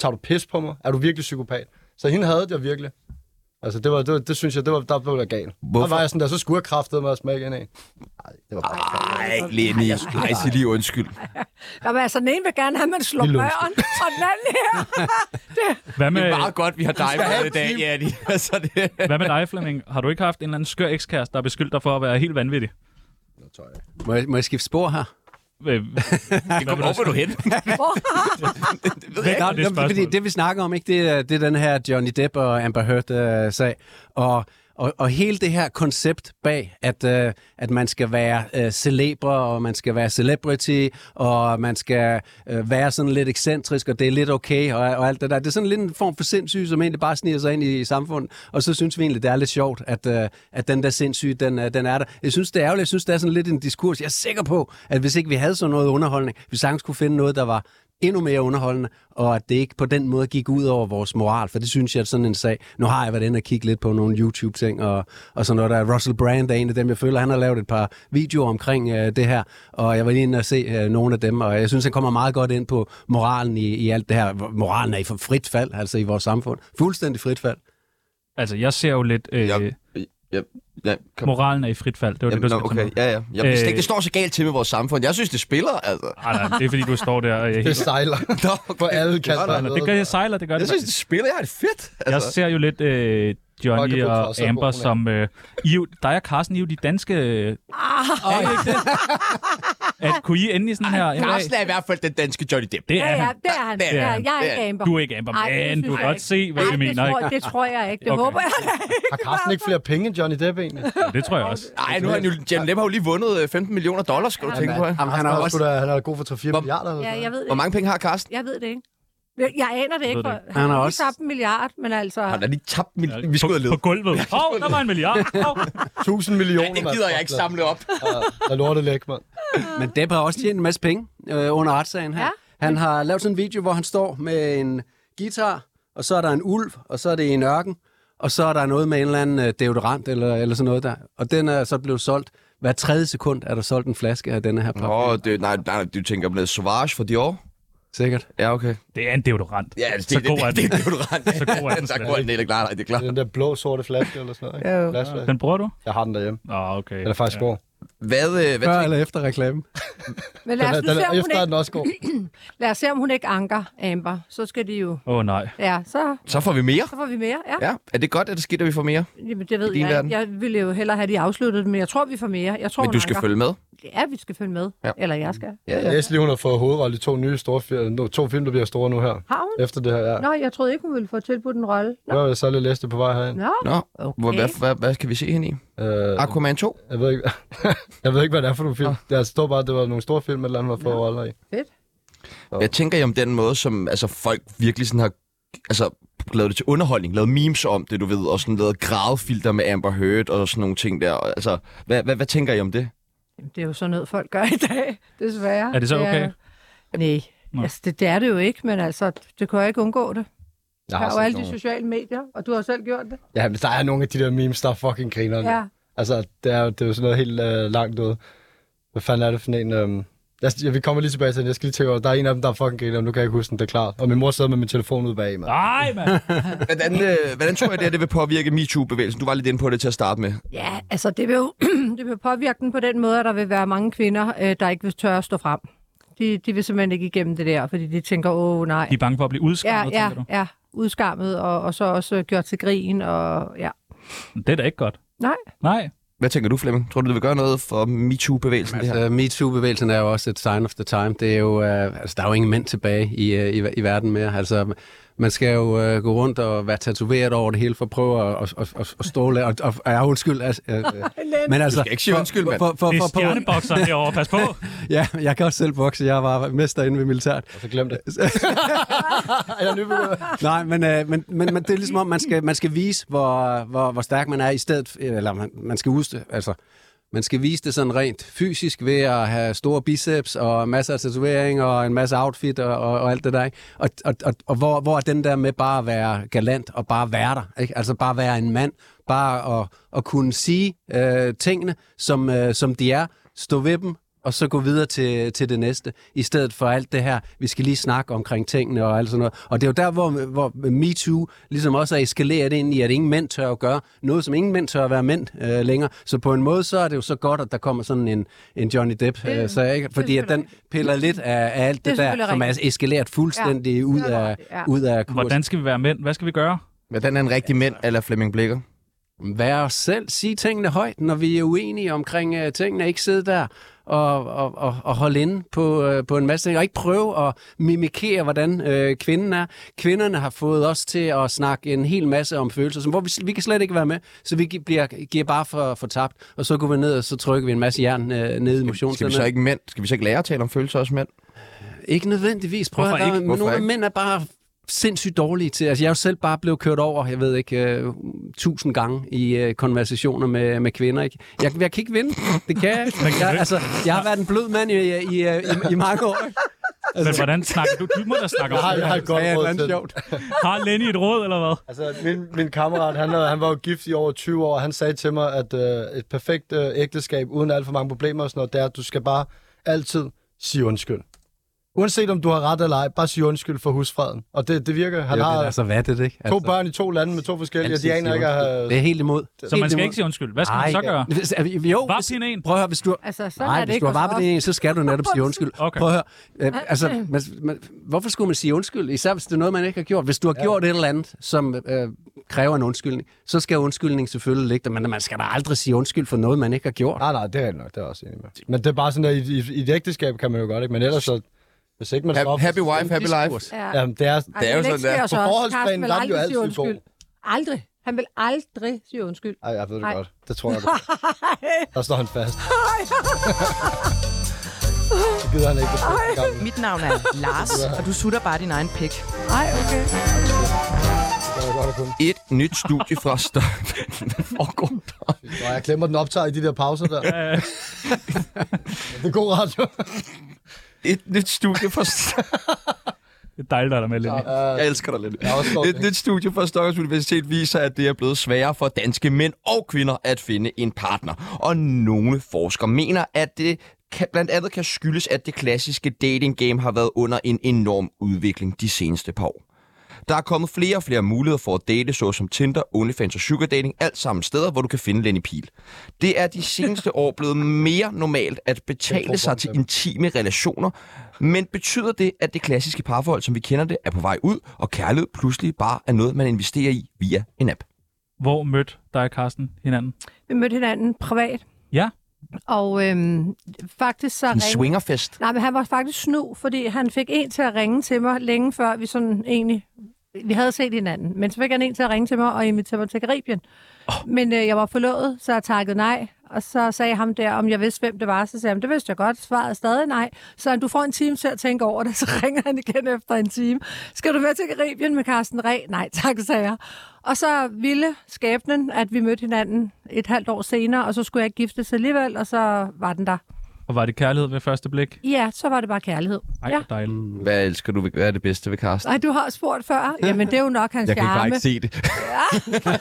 Speaker 2: tager du pis på mig? Er du virkelig psykopat? Så hende havde jeg virkelig. Altså, det, var, det, var- det synes jeg, det var, der blev jeg gal.
Speaker 3: Hvorfor?
Speaker 2: Der var jeg sådan der, så skulle jeg kraftede mig at smage ind af. Nej, det var bare...
Speaker 3: Nej, Lenny. Nej, sig lige undskyld.
Speaker 1: medier. Jamen, altså, den ene vil gerne have, at man slår
Speaker 2: Lille
Speaker 1: børn, og den anden her.
Speaker 4: Hvad med,
Speaker 3: Det er meget godt, vi har dig med i dag, Jenny. Altså, det...
Speaker 4: hvad med dig, Flemming? Har du ikke haft en eller anden skør ekskæreste, der har beskyldt dig for at være helt vanvittig?
Speaker 5: Må jeg, må jeg skifte spor her?
Speaker 4: Øh,
Speaker 3: Det kommer hvor er du hen.
Speaker 4: væk
Speaker 5: Nå,
Speaker 4: med det
Speaker 5: jamen, det, er fordi
Speaker 4: spørgsmål.
Speaker 5: det vi snakker om, ikke, det, er, det er den her Johnny Depp og Amber Heard-sag. og, og, og hele det her koncept bag, at, øh, at man skal være øh, celebre, og man skal være celebrity, og man skal øh, være sådan lidt ekscentrisk, og det er lidt okay, og, og alt det der. Det er sådan lidt en form for sindssyg, som egentlig bare sniger sig ind i, i samfundet. Og så synes vi egentlig, det er lidt sjovt, at, øh, at den der sindssyge, den, øh, den er der. Jeg synes, det er ærgerligt. Jeg synes, det er sådan lidt en diskurs. Jeg er sikker på, at hvis ikke vi havde sådan noget underholdning, vi sagtens kunne finde noget, der var endnu mere underholdende, og at det ikke på den måde gik ud over vores moral, for det synes jeg at sådan en sag. Nu har jeg været inde og kigge lidt på nogle YouTube-ting, og, og sådan noget der. er Russell Brand er en af dem, jeg føler, han har lavet et par videoer omkring øh, det her, og jeg var lige inde og se øh, nogle af dem, og jeg synes, han kommer meget godt ind på moralen i, i alt det her. Moralen er i frit fald, altså i vores samfund. Fuldstændig frit fald.
Speaker 4: Altså, jeg ser jo lidt... Øh,
Speaker 3: Jeg- Ja, ja, kom.
Speaker 4: moralen er i frit fald. Det var det,
Speaker 3: Jamen,
Speaker 4: du
Speaker 3: nå,
Speaker 4: skal tage
Speaker 3: okay.
Speaker 4: med.
Speaker 3: Ja, ja. Jeg vidste
Speaker 4: Øh,
Speaker 3: ikke, det står så galt til med vores samfund. Jeg synes, det spiller, altså.
Speaker 4: Ej, nej, det er fordi, du står der og jeg er
Speaker 2: Det
Speaker 4: helt...
Speaker 2: sejler
Speaker 3: Nå,
Speaker 2: på alle
Speaker 4: Nej, nej,
Speaker 2: kanter.
Speaker 4: det gør jeg sejler, det gør
Speaker 3: Jeg
Speaker 4: det.
Speaker 3: synes, det spiller. Jeg har det fedt.
Speaker 4: Jeg
Speaker 3: Altså.
Speaker 4: ser jo lidt øh, Johnny
Speaker 2: Folkebukser
Speaker 4: og
Speaker 2: og så
Speaker 4: Amber
Speaker 2: vågen,
Speaker 4: som... Øh, I, er jo- dig og Carsten, I er jo de danske... Øh, ah, er I ikke det? At, kunne I ende i sådan her... en dag?
Speaker 3: Carsten er i hvert fald den danske Johnny Depp.
Speaker 4: Det
Speaker 1: Ja,
Speaker 4: er
Speaker 1: ja,
Speaker 4: han.
Speaker 1: det er han.
Speaker 3: Det er
Speaker 1: Ja,
Speaker 4: han.
Speaker 1: jeg er
Speaker 3: Det er
Speaker 1: ikke Amber.
Speaker 4: Du er ikke Amber.
Speaker 1: Ej, det
Speaker 4: Men
Speaker 1: synes
Speaker 4: du kan
Speaker 1: jeg
Speaker 4: godt
Speaker 1: ikke.
Speaker 4: se, hvad
Speaker 1: Ej,
Speaker 4: jeg
Speaker 1: det
Speaker 4: mener.
Speaker 1: Tror,
Speaker 4: ikke?
Speaker 1: det tror jeg ikke. Det
Speaker 4: Okay.
Speaker 1: okay. håber jeg da ikke.
Speaker 2: Har Carsten ikke flere penge end Johnny Depp egentlig?
Speaker 4: Det tror jeg også.
Speaker 3: Nej, nu har han jo, Johnny Depp har jo lige vundet øh, 15 millioner dollars, skal du tænke på.
Speaker 5: Jamen, han
Speaker 2: Han
Speaker 5: har
Speaker 2: er,
Speaker 5: også
Speaker 2: også... da, han er da god for 3-4
Speaker 3: Hvor-
Speaker 2: milliarder. Eller
Speaker 1: Ja,
Speaker 2: sådan
Speaker 1: jeg ved det
Speaker 3: Hvor
Speaker 1: ikke.
Speaker 3: mange penge har Carsten?
Speaker 1: Jeg ved det ikke. Jeg, jeg aner det ikke.
Speaker 4: ved det
Speaker 1: For,
Speaker 5: Han
Speaker 1: han
Speaker 5: har
Speaker 1: har
Speaker 5: også-
Speaker 1: også tabt en milliard, men altså...
Speaker 3: Har da lige tabt min...
Speaker 4: Ja,
Speaker 3: Vi skulle have
Speaker 4: på, på
Speaker 3: ledet.
Speaker 4: gulvet. Åh, oh, der var en milliard. Oh.
Speaker 2: noget. 1000 millioner.
Speaker 3: Nej, det gider jeg ikke samle op.
Speaker 2: Der lortet læk, mand.
Speaker 5: Men Depp har også tjent en masse penge øh, under retssagen her. Ja.
Speaker 1: Ja.
Speaker 5: Han har lavet sådan en video, hvor han står med en guitar, og så er der en ulv, og så er det en ørken, og så er der noget med en eller anden øh, deodorant eller, eller sådan noget der. Og den er så blevet solgt. Hver tredje sekund er der solgt en flaske af denne her parfum.
Speaker 3: Åh, det, nej, nej, du tænker på noget Sauvage for Dior?
Speaker 5: Sikkert.
Speaker 3: Ja, okay.
Speaker 4: Det er en deodorant.
Speaker 3: Ja, det,
Speaker 4: så
Speaker 3: det,
Speaker 4: god er
Speaker 3: det,
Speaker 4: den.
Speaker 3: det, det, det, det,
Speaker 4: Så god er den
Speaker 3: Så
Speaker 4: slet
Speaker 3: god er den helt klart, nej, det er klart.
Speaker 2: Den der blå, sorte flaske eller sådan noget. Ikke? Ja, Flaske.
Speaker 4: Den bruger du?
Speaker 2: Jeg har den derhjemme.
Speaker 4: Åh, oh, okay.
Speaker 2: Den er faktisk god.
Speaker 3: Hvad, øh, hvad
Speaker 5: Før
Speaker 3: tænker
Speaker 5: eller efter reklame.
Speaker 1: Men
Speaker 2: Den
Speaker 1: lad
Speaker 2: er,
Speaker 1: os nu
Speaker 2: den
Speaker 1: se,
Speaker 2: er,
Speaker 1: om hun
Speaker 2: efter er den
Speaker 1: ikke,
Speaker 2: også god.
Speaker 1: lad os se, om hun ikke anker Amber. Så skal de jo...
Speaker 4: Åh, oh, nej.
Speaker 1: Ja, så,
Speaker 3: Så får vi mere.
Speaker 1: så får vi mere. Ja,
Speaker 3: Ja, er det godt, at det skidt, at vi får mere?
Speaker 1: Jamen, det ved
Speaker 3: din
Speaker 1: jeg
Speaker 3: verden.
Speaker 1: ikke. Jeg ville jo hellere have de afsluttet, men jeg tror, vi får mere. Jeg tror,
Speaker 3: Men
Speaker 1: hun
Speaker 3: du skal
Speaker 1: anker.
Speaker 3: følge med.
Speaker 1: Ja, vi skal følge med.
Speaker 3: Ja.
Speaker 1: Ja. Eller jeg skal.
Speaker 3: Ja,
Speaker 2: Jeg læste lige, hun har fået hovedrolle i to nye store film, no, to film, der bliver store nu her.
Speaker 1: Har hun?
Speaker 2: Efter det her, ja.
Speaker 1: Nå, jeg troede ikke, hun ville få tilbudt en rolle. Nå.
Speaker 2: Nu har jeg så lige læst det på vej herind.
Speaker 1: Nå.
Speaker 3: Nå, okay.
Speaker 1: Okay.
Speaker 3: hvad, hvad, hvad skal vi se hende i?
Speaker 2: Øh,
Speaker 3: Aquaman 2?
Speaker 2: jeg, ved ikke, jeg ved ikke, hvad det er for nogle film. Jeg står bare, at det var nogle store film, eller andet, hun har fået roller i.
Speaker 1: Fedt.
Speaker 3: Jeg tænker jo om den måde, som altså, folk virkelig sådan har altså, lavet det til underholdning, lavet memes om det, du ved, og sådan lavet gradfilter med Amber Heard og sådan nogle ting der. Og, Altså, hvad, hvad, hvad tænker I om det?
Speaker 1: Jamen, det er jo sådan noget, folk gør i dag, desværre.
Speaker 4: Er det så okay?
Speaker 1: Nej,
Speaker 4: Nå.
Speaker 1: altså, det, det er det jo ikke, men altså, det kunne jeg ikke undgå det.
Speaker 2: Jeg har
Speaker 1: Der er jo
Speaker 2: set
Speaker 1: alle de
Speaker 2: nogle-
Speaker 1: sociale medier, og du har selv gjort det.
Speaker 2: Ja, men der er nogle af de der memes, der er fucking griner.
Speaker 1: Ja.
Speaker 2: Altså, det er, jo- det er jo sådan noget helt øh, langt ude. Hvad fanden er det for en... Øh... Jeg, jeg, vi kommer lige tilbage til den. Jeg skal lige tænke over, der er en af dem, der er fucking griner, og nu kan jeg ikke huske den, det er klart. Og min mor sidder med min telefon ude bag mig.
Speaker 4: Nej, mand.
Speaker 3: Hvordan, øh, hvordan tror jeg, det, her, det vil påvirke MeToo-bevægelsen? Du var lidt inde på det til at starte med.
Speaker 1: Ja, altså det vil jo det vil påvirke den på den måde, at der vil være mange kvinder, øh, der ikke vil tørre at stå frem. De, de vil simpelthen ikke igennem det der, fordi de tænker, åh nej.
Speaker 4: De er bange for at blive
Speaker 1: Ja,
Speaker 4: udskammet,
Speaker 1: ja,
Speaker 4: tænker du?
Speaker 1: ja, udskammet, og, og så også øh, gjort til grin, og ja.
Speaker 4: Det er da ikke godt.
Speaker 1: Nej,
Speaker 4: Nej.
Speaker 3: Hvad tænker du, Flemming? Tror du, det vil gøre noget for MeToo-bevægelsen? det her?
Speaker 5: Altså, MeToo-bevægelsen er jo også et sign of the time. Det er jo, øh, altså, der er jo ingen mænd tilbage i, øh, i, i verden mere. Altså, man skal jo øh, gå rundt og være tatoveret over det hele for at prøve at, at, at, at stå og, og, og, ja, undskyld. Altså, øh, øh, men altså,
Speaker 3: skal ikke sige undskyld, mand.
Speaker 5: For, for,
Speaker 4: Det er
Speaker 5: for, for,
Speaker 4: stjernebokseren herovre. Pas på.
Speaker 5: ja, jeg kan også selv bokse. Jeg var mester inde ved
Speaker 2: Og
Speaker 5: militæret.
Speaker 2: så Altså, glem det. jeg er nybegyndt.
Speaker 5: Nej, men, øh, men, men, men det er ligesom om, man skal, man skal vise, hvor, hvor, hvor stærk man er i stedet, eller man, man skal udstø, altså, man skal vise det sådan rent fysisk ved at have store biceps og masser af tatovering og en masse outfit og, og, og alt det der. Ikke? Og, og, og, og hvor, hvor er den der med bare at være galant og bare være der? Ikke? Altså bare være en mand. Bare at, at kunne sige øh, tingene, som, øh, som de er. Stå ved dem, og så gå videre til, til det næste, i stedet for alt det her, vi skal lige snakke omkring tingene og alt sådan noget. Og det er jo der, hvor, hvor MeToo ligesom også er eskaleret ind i, at ingen mænd tør at gøre noget, som ingen mænd tør at være mænd øh, længere. Så på en måde, så er det jo så godt, at der kommer sådan en, en Johnny Depp, øh, så, ikke? fordi at den piller lidt af, af alt
Speaker 1: Det er
Speaker 5: det, der,
Speaker 1: selvfølgelig
Speaker 5: som er eskaleret fuldstændig ja. ud, af,
Speaker 1: Ja.
Speaker 5: ud af kursen.
Speaker 4: Hvordan skal vi være mænd? Hvad skal vi gøre?
Speaker 3: Hvordan altså, er en rigtig mænd, eller Flemming Blikker?
Speaker 5: Vær os selv, sige tingene højt, når vi er uenige omkring uh, tingene. Ikke sidde der og, og, og, og holde inde på, uh, på en masse ting, og ikke prøve at mimikere, hvordan uh, kvinden er. Kvinderne har fået os til at snakke en hel masse om følelser, som, hvor vi, vi kan slet ikke være med, så vi gi- bliver, giver bare for, for tabt, og så går vi ned, og så trykker vi en masse jern uh, ned i
Speaker 3: Skal vi så
Speaker 5: motionscenteret. Ikke?
Speaker 3: ikke mænd? Skal vi så ikke lære at tale om følelser også mænd?
Speaker 5: ikke nødvendigvis. Prøv
Speaker 4: Hvorfor
Speaker 5: at,
Speaker 4: ikke?
Speaker 5: Der,
Speaker 3: Hvorfor
Speaker 5: nogle af
Speaker 3: ikke?
Speaker 5: mænd er bare sindssygt dårlige til. Altså, jeg er jo selv bare blevet kørt over, jeg ved ikke, uh, tusind gange i øh, konversationer med, med kvinder. Ikke? Jeg, jeg øh, kan ikke vinde. Det kan jeg ikke. Jeg, altså, jeg har været en blød mand i, i, i, i, i mange år. ikke?
Speaker 4: Men hvordan snakker du? Du må da snakke om
Speaker 2: Jeg har, jeg har et godt
Speaker 5: Ja,
Speaker 2: råd
Speaker 5: det
Speaker 2: til
Speaker 5: er
Speaker 2: det.
Speaker 5: sjovt.
Speaker 4: Har Lenny et råd, eller hvad?
Speaker 2: Altså, min, min kammerat, han, er- han var jo gift i over 20 år, og han sagde til mig, at øh, et perfekt øh, ægteskab uden alt for mange problemer og sådan noget, det er, at du skal bare altid sige undskyld. Uanset om du har ret eller ej, bare sige undskyld for husfreden. Og det, det altså- virker. Han
Speaker 5: Jo,
Speaker 2: har
Speaker 5: det er så vattet, ikke?
Speaker 2: to børn i to lande med to forskellige, og
Speaker 5: altid
Speaker 2: de aner
Speaker 5: sige
Speaker 2: ikke at
Speaker 5: undskyld.
Speaker 2: have...
Speaker 5: Det er helt imod.
Speaker 4: Så man skal ikke sige undskyld. Hvad skal man så gøre?
Speaker 5: gøre? Jo,
Speaker 4: Bare
Speaker 5: hvis-
Speaker 4: pin en.
Speaker 5: prøv at høre, hvis du,
Speaker 1: Altså, sådan
Speaker 5: Nej,
Speaker 1: er det
Speaker 5: hvis
Speaker 1: ikke
Speaker 5: du har
Speaker 1: hos
Speaker 5: varpet
Speaker 1: os.
Speaker 5: det en, så skal du netop sige undskyld.
Speaker 4: Okay.
Speaker 5: Prøv at høre. Øh, altså, man, man, hvorfor skulle man sige undskyld? Især hvis det er noget, man ikke har gjort. Hvis du har gjort et eller andet, som øh, kræver en undskyldning, så skal undskyldningen selvfølgelig ligge der. Men man skal da aldrig sige undskyld for noget, man ikke har gjort.
Speaker 2: Nej, nej, det er jeg nok, det er jeg også enig med. Men det er bare sådan, at i, i, i et ægteskab kan man jo godt, ikke? Men ellers så... Hvis ikke man
Speaker 3: Ha-
Speaker 2: stopper...
Speaker 3: Happy wife, happy life.
Speaker 1: Ja.
Speaker 2: Jamen, det er...
Speaker 1: Ej,
Speaker 3: Det er jo
Speaker 1: ikke
Speaker 3: sådan, det er.
Speaker 1: sker os
Speaker 2: På
Speaker 1: også.
Speaker 2: forholdsplanen,
Speaker 1: Carsten vil
Speaker 2: der er vi jo
Speaker 1: aldrig sige
Speaker 2: altid
Speaker 1: undskyld. Aldrig. Han vil aldrig sige undskyld.
Speaker 2: Ej, jeg ved det
Speaker 1: Ej.
Speaker 2: godt. Det tror jeg godt. Der står han fast. Det gider han ikke. Det er gammel.
Speaker 6: Mit navn er Lars, og du sutter bare din egen pik.
Speaker 1: Nej, okay.
Speaker 2: Det er godt at kunne.
Speaker 3: Et nyt studie fra Stockholm. Hvad foregår der?
Speaker 2: Nå, jeg glemmer, den optager i de der pauser der. det er god radio.
Speaker 3: Et nyt studie fra Stockholm.
Speaker 4: Det er dejligt, at der er med, Lenny.
Speaker 3: Jeg elsker dig lidt.
Speaker 2: Jeg er også stolt,
Speaker 3: Et
Speaker 2: ikke?
Speaker 3: nyt studie fra Stockholms Universitet viser, at det er blevet sværere for danske mænd og kvinder at finde en partner. Og nogle forskere mener, at det kan, blandt andet kan skyldes, at det klassiske dating game har været under en enorm udvikling de seneste par år. Der er kommet flere og flere muligheder for at date, såsom Tinder, OnlyFans og Sugar Dating, alt sammen steder, hvor du kan finde Lenny Pil. Det er de seneste år blevet mere normalt at betale sig til intime relationer, men betyder det, at det klassiske parforhold, som vi kender det, er på vej ud, og kærlighed pludselig bare er noget, man investerer i via en app?
Speaker 4: Hvor mødte dig og Carsten hinanden?
Speaker 1: Vi mødte hinanden privat,
Speaker 4: Ja.
Speaker 1: og øhm, faktisk så
Speaker 3: En
Speaker 1: ringede...
Speaker 3: swingerfest.
Speaker 1: Nej, men han var faktisk snu, fordi han fik en til at ringe til mig længe før vi sådan egentlig... Vi havde set hinanden, men så fik han en til at ringe til mig og invitere mig til Karibien. Oh. Men øh, jeg var forlovet, så jeg takkede nej. Og så sagde ham der, om jeg vidste, hvem det var. Så sagde han, det vidste jeg godt. Svaret er stadig nej. Så han, du får en time til at tænke over det. Så ringer han igen efter en time. Skal du med til Karibien med Carsten Re? Nej, tak, sagde jeg. Og så ville skæbnen, at vi mødte hinanden et halvt år senere, og så skulle jeg giftes alligevel, og så var den der.
Speaker 4: Og var det kærlighed ved første blik?
Speaker 1: Ja, så var det bare kærlighed.
Speaker 4: Ej,
Speaker 1: ja.
Speaker 4: hvor dejligt.
Speaker 3: Hvad elsker du? ved- Hvad er det bedste ved Karsten?
Speaker 1: Nej, du har spurgt før. Jamen, det er jo nok hans
Speaker 3: Jeg kan ikke bare
Speaker 1: charme.
Speaker 3: ikke se det.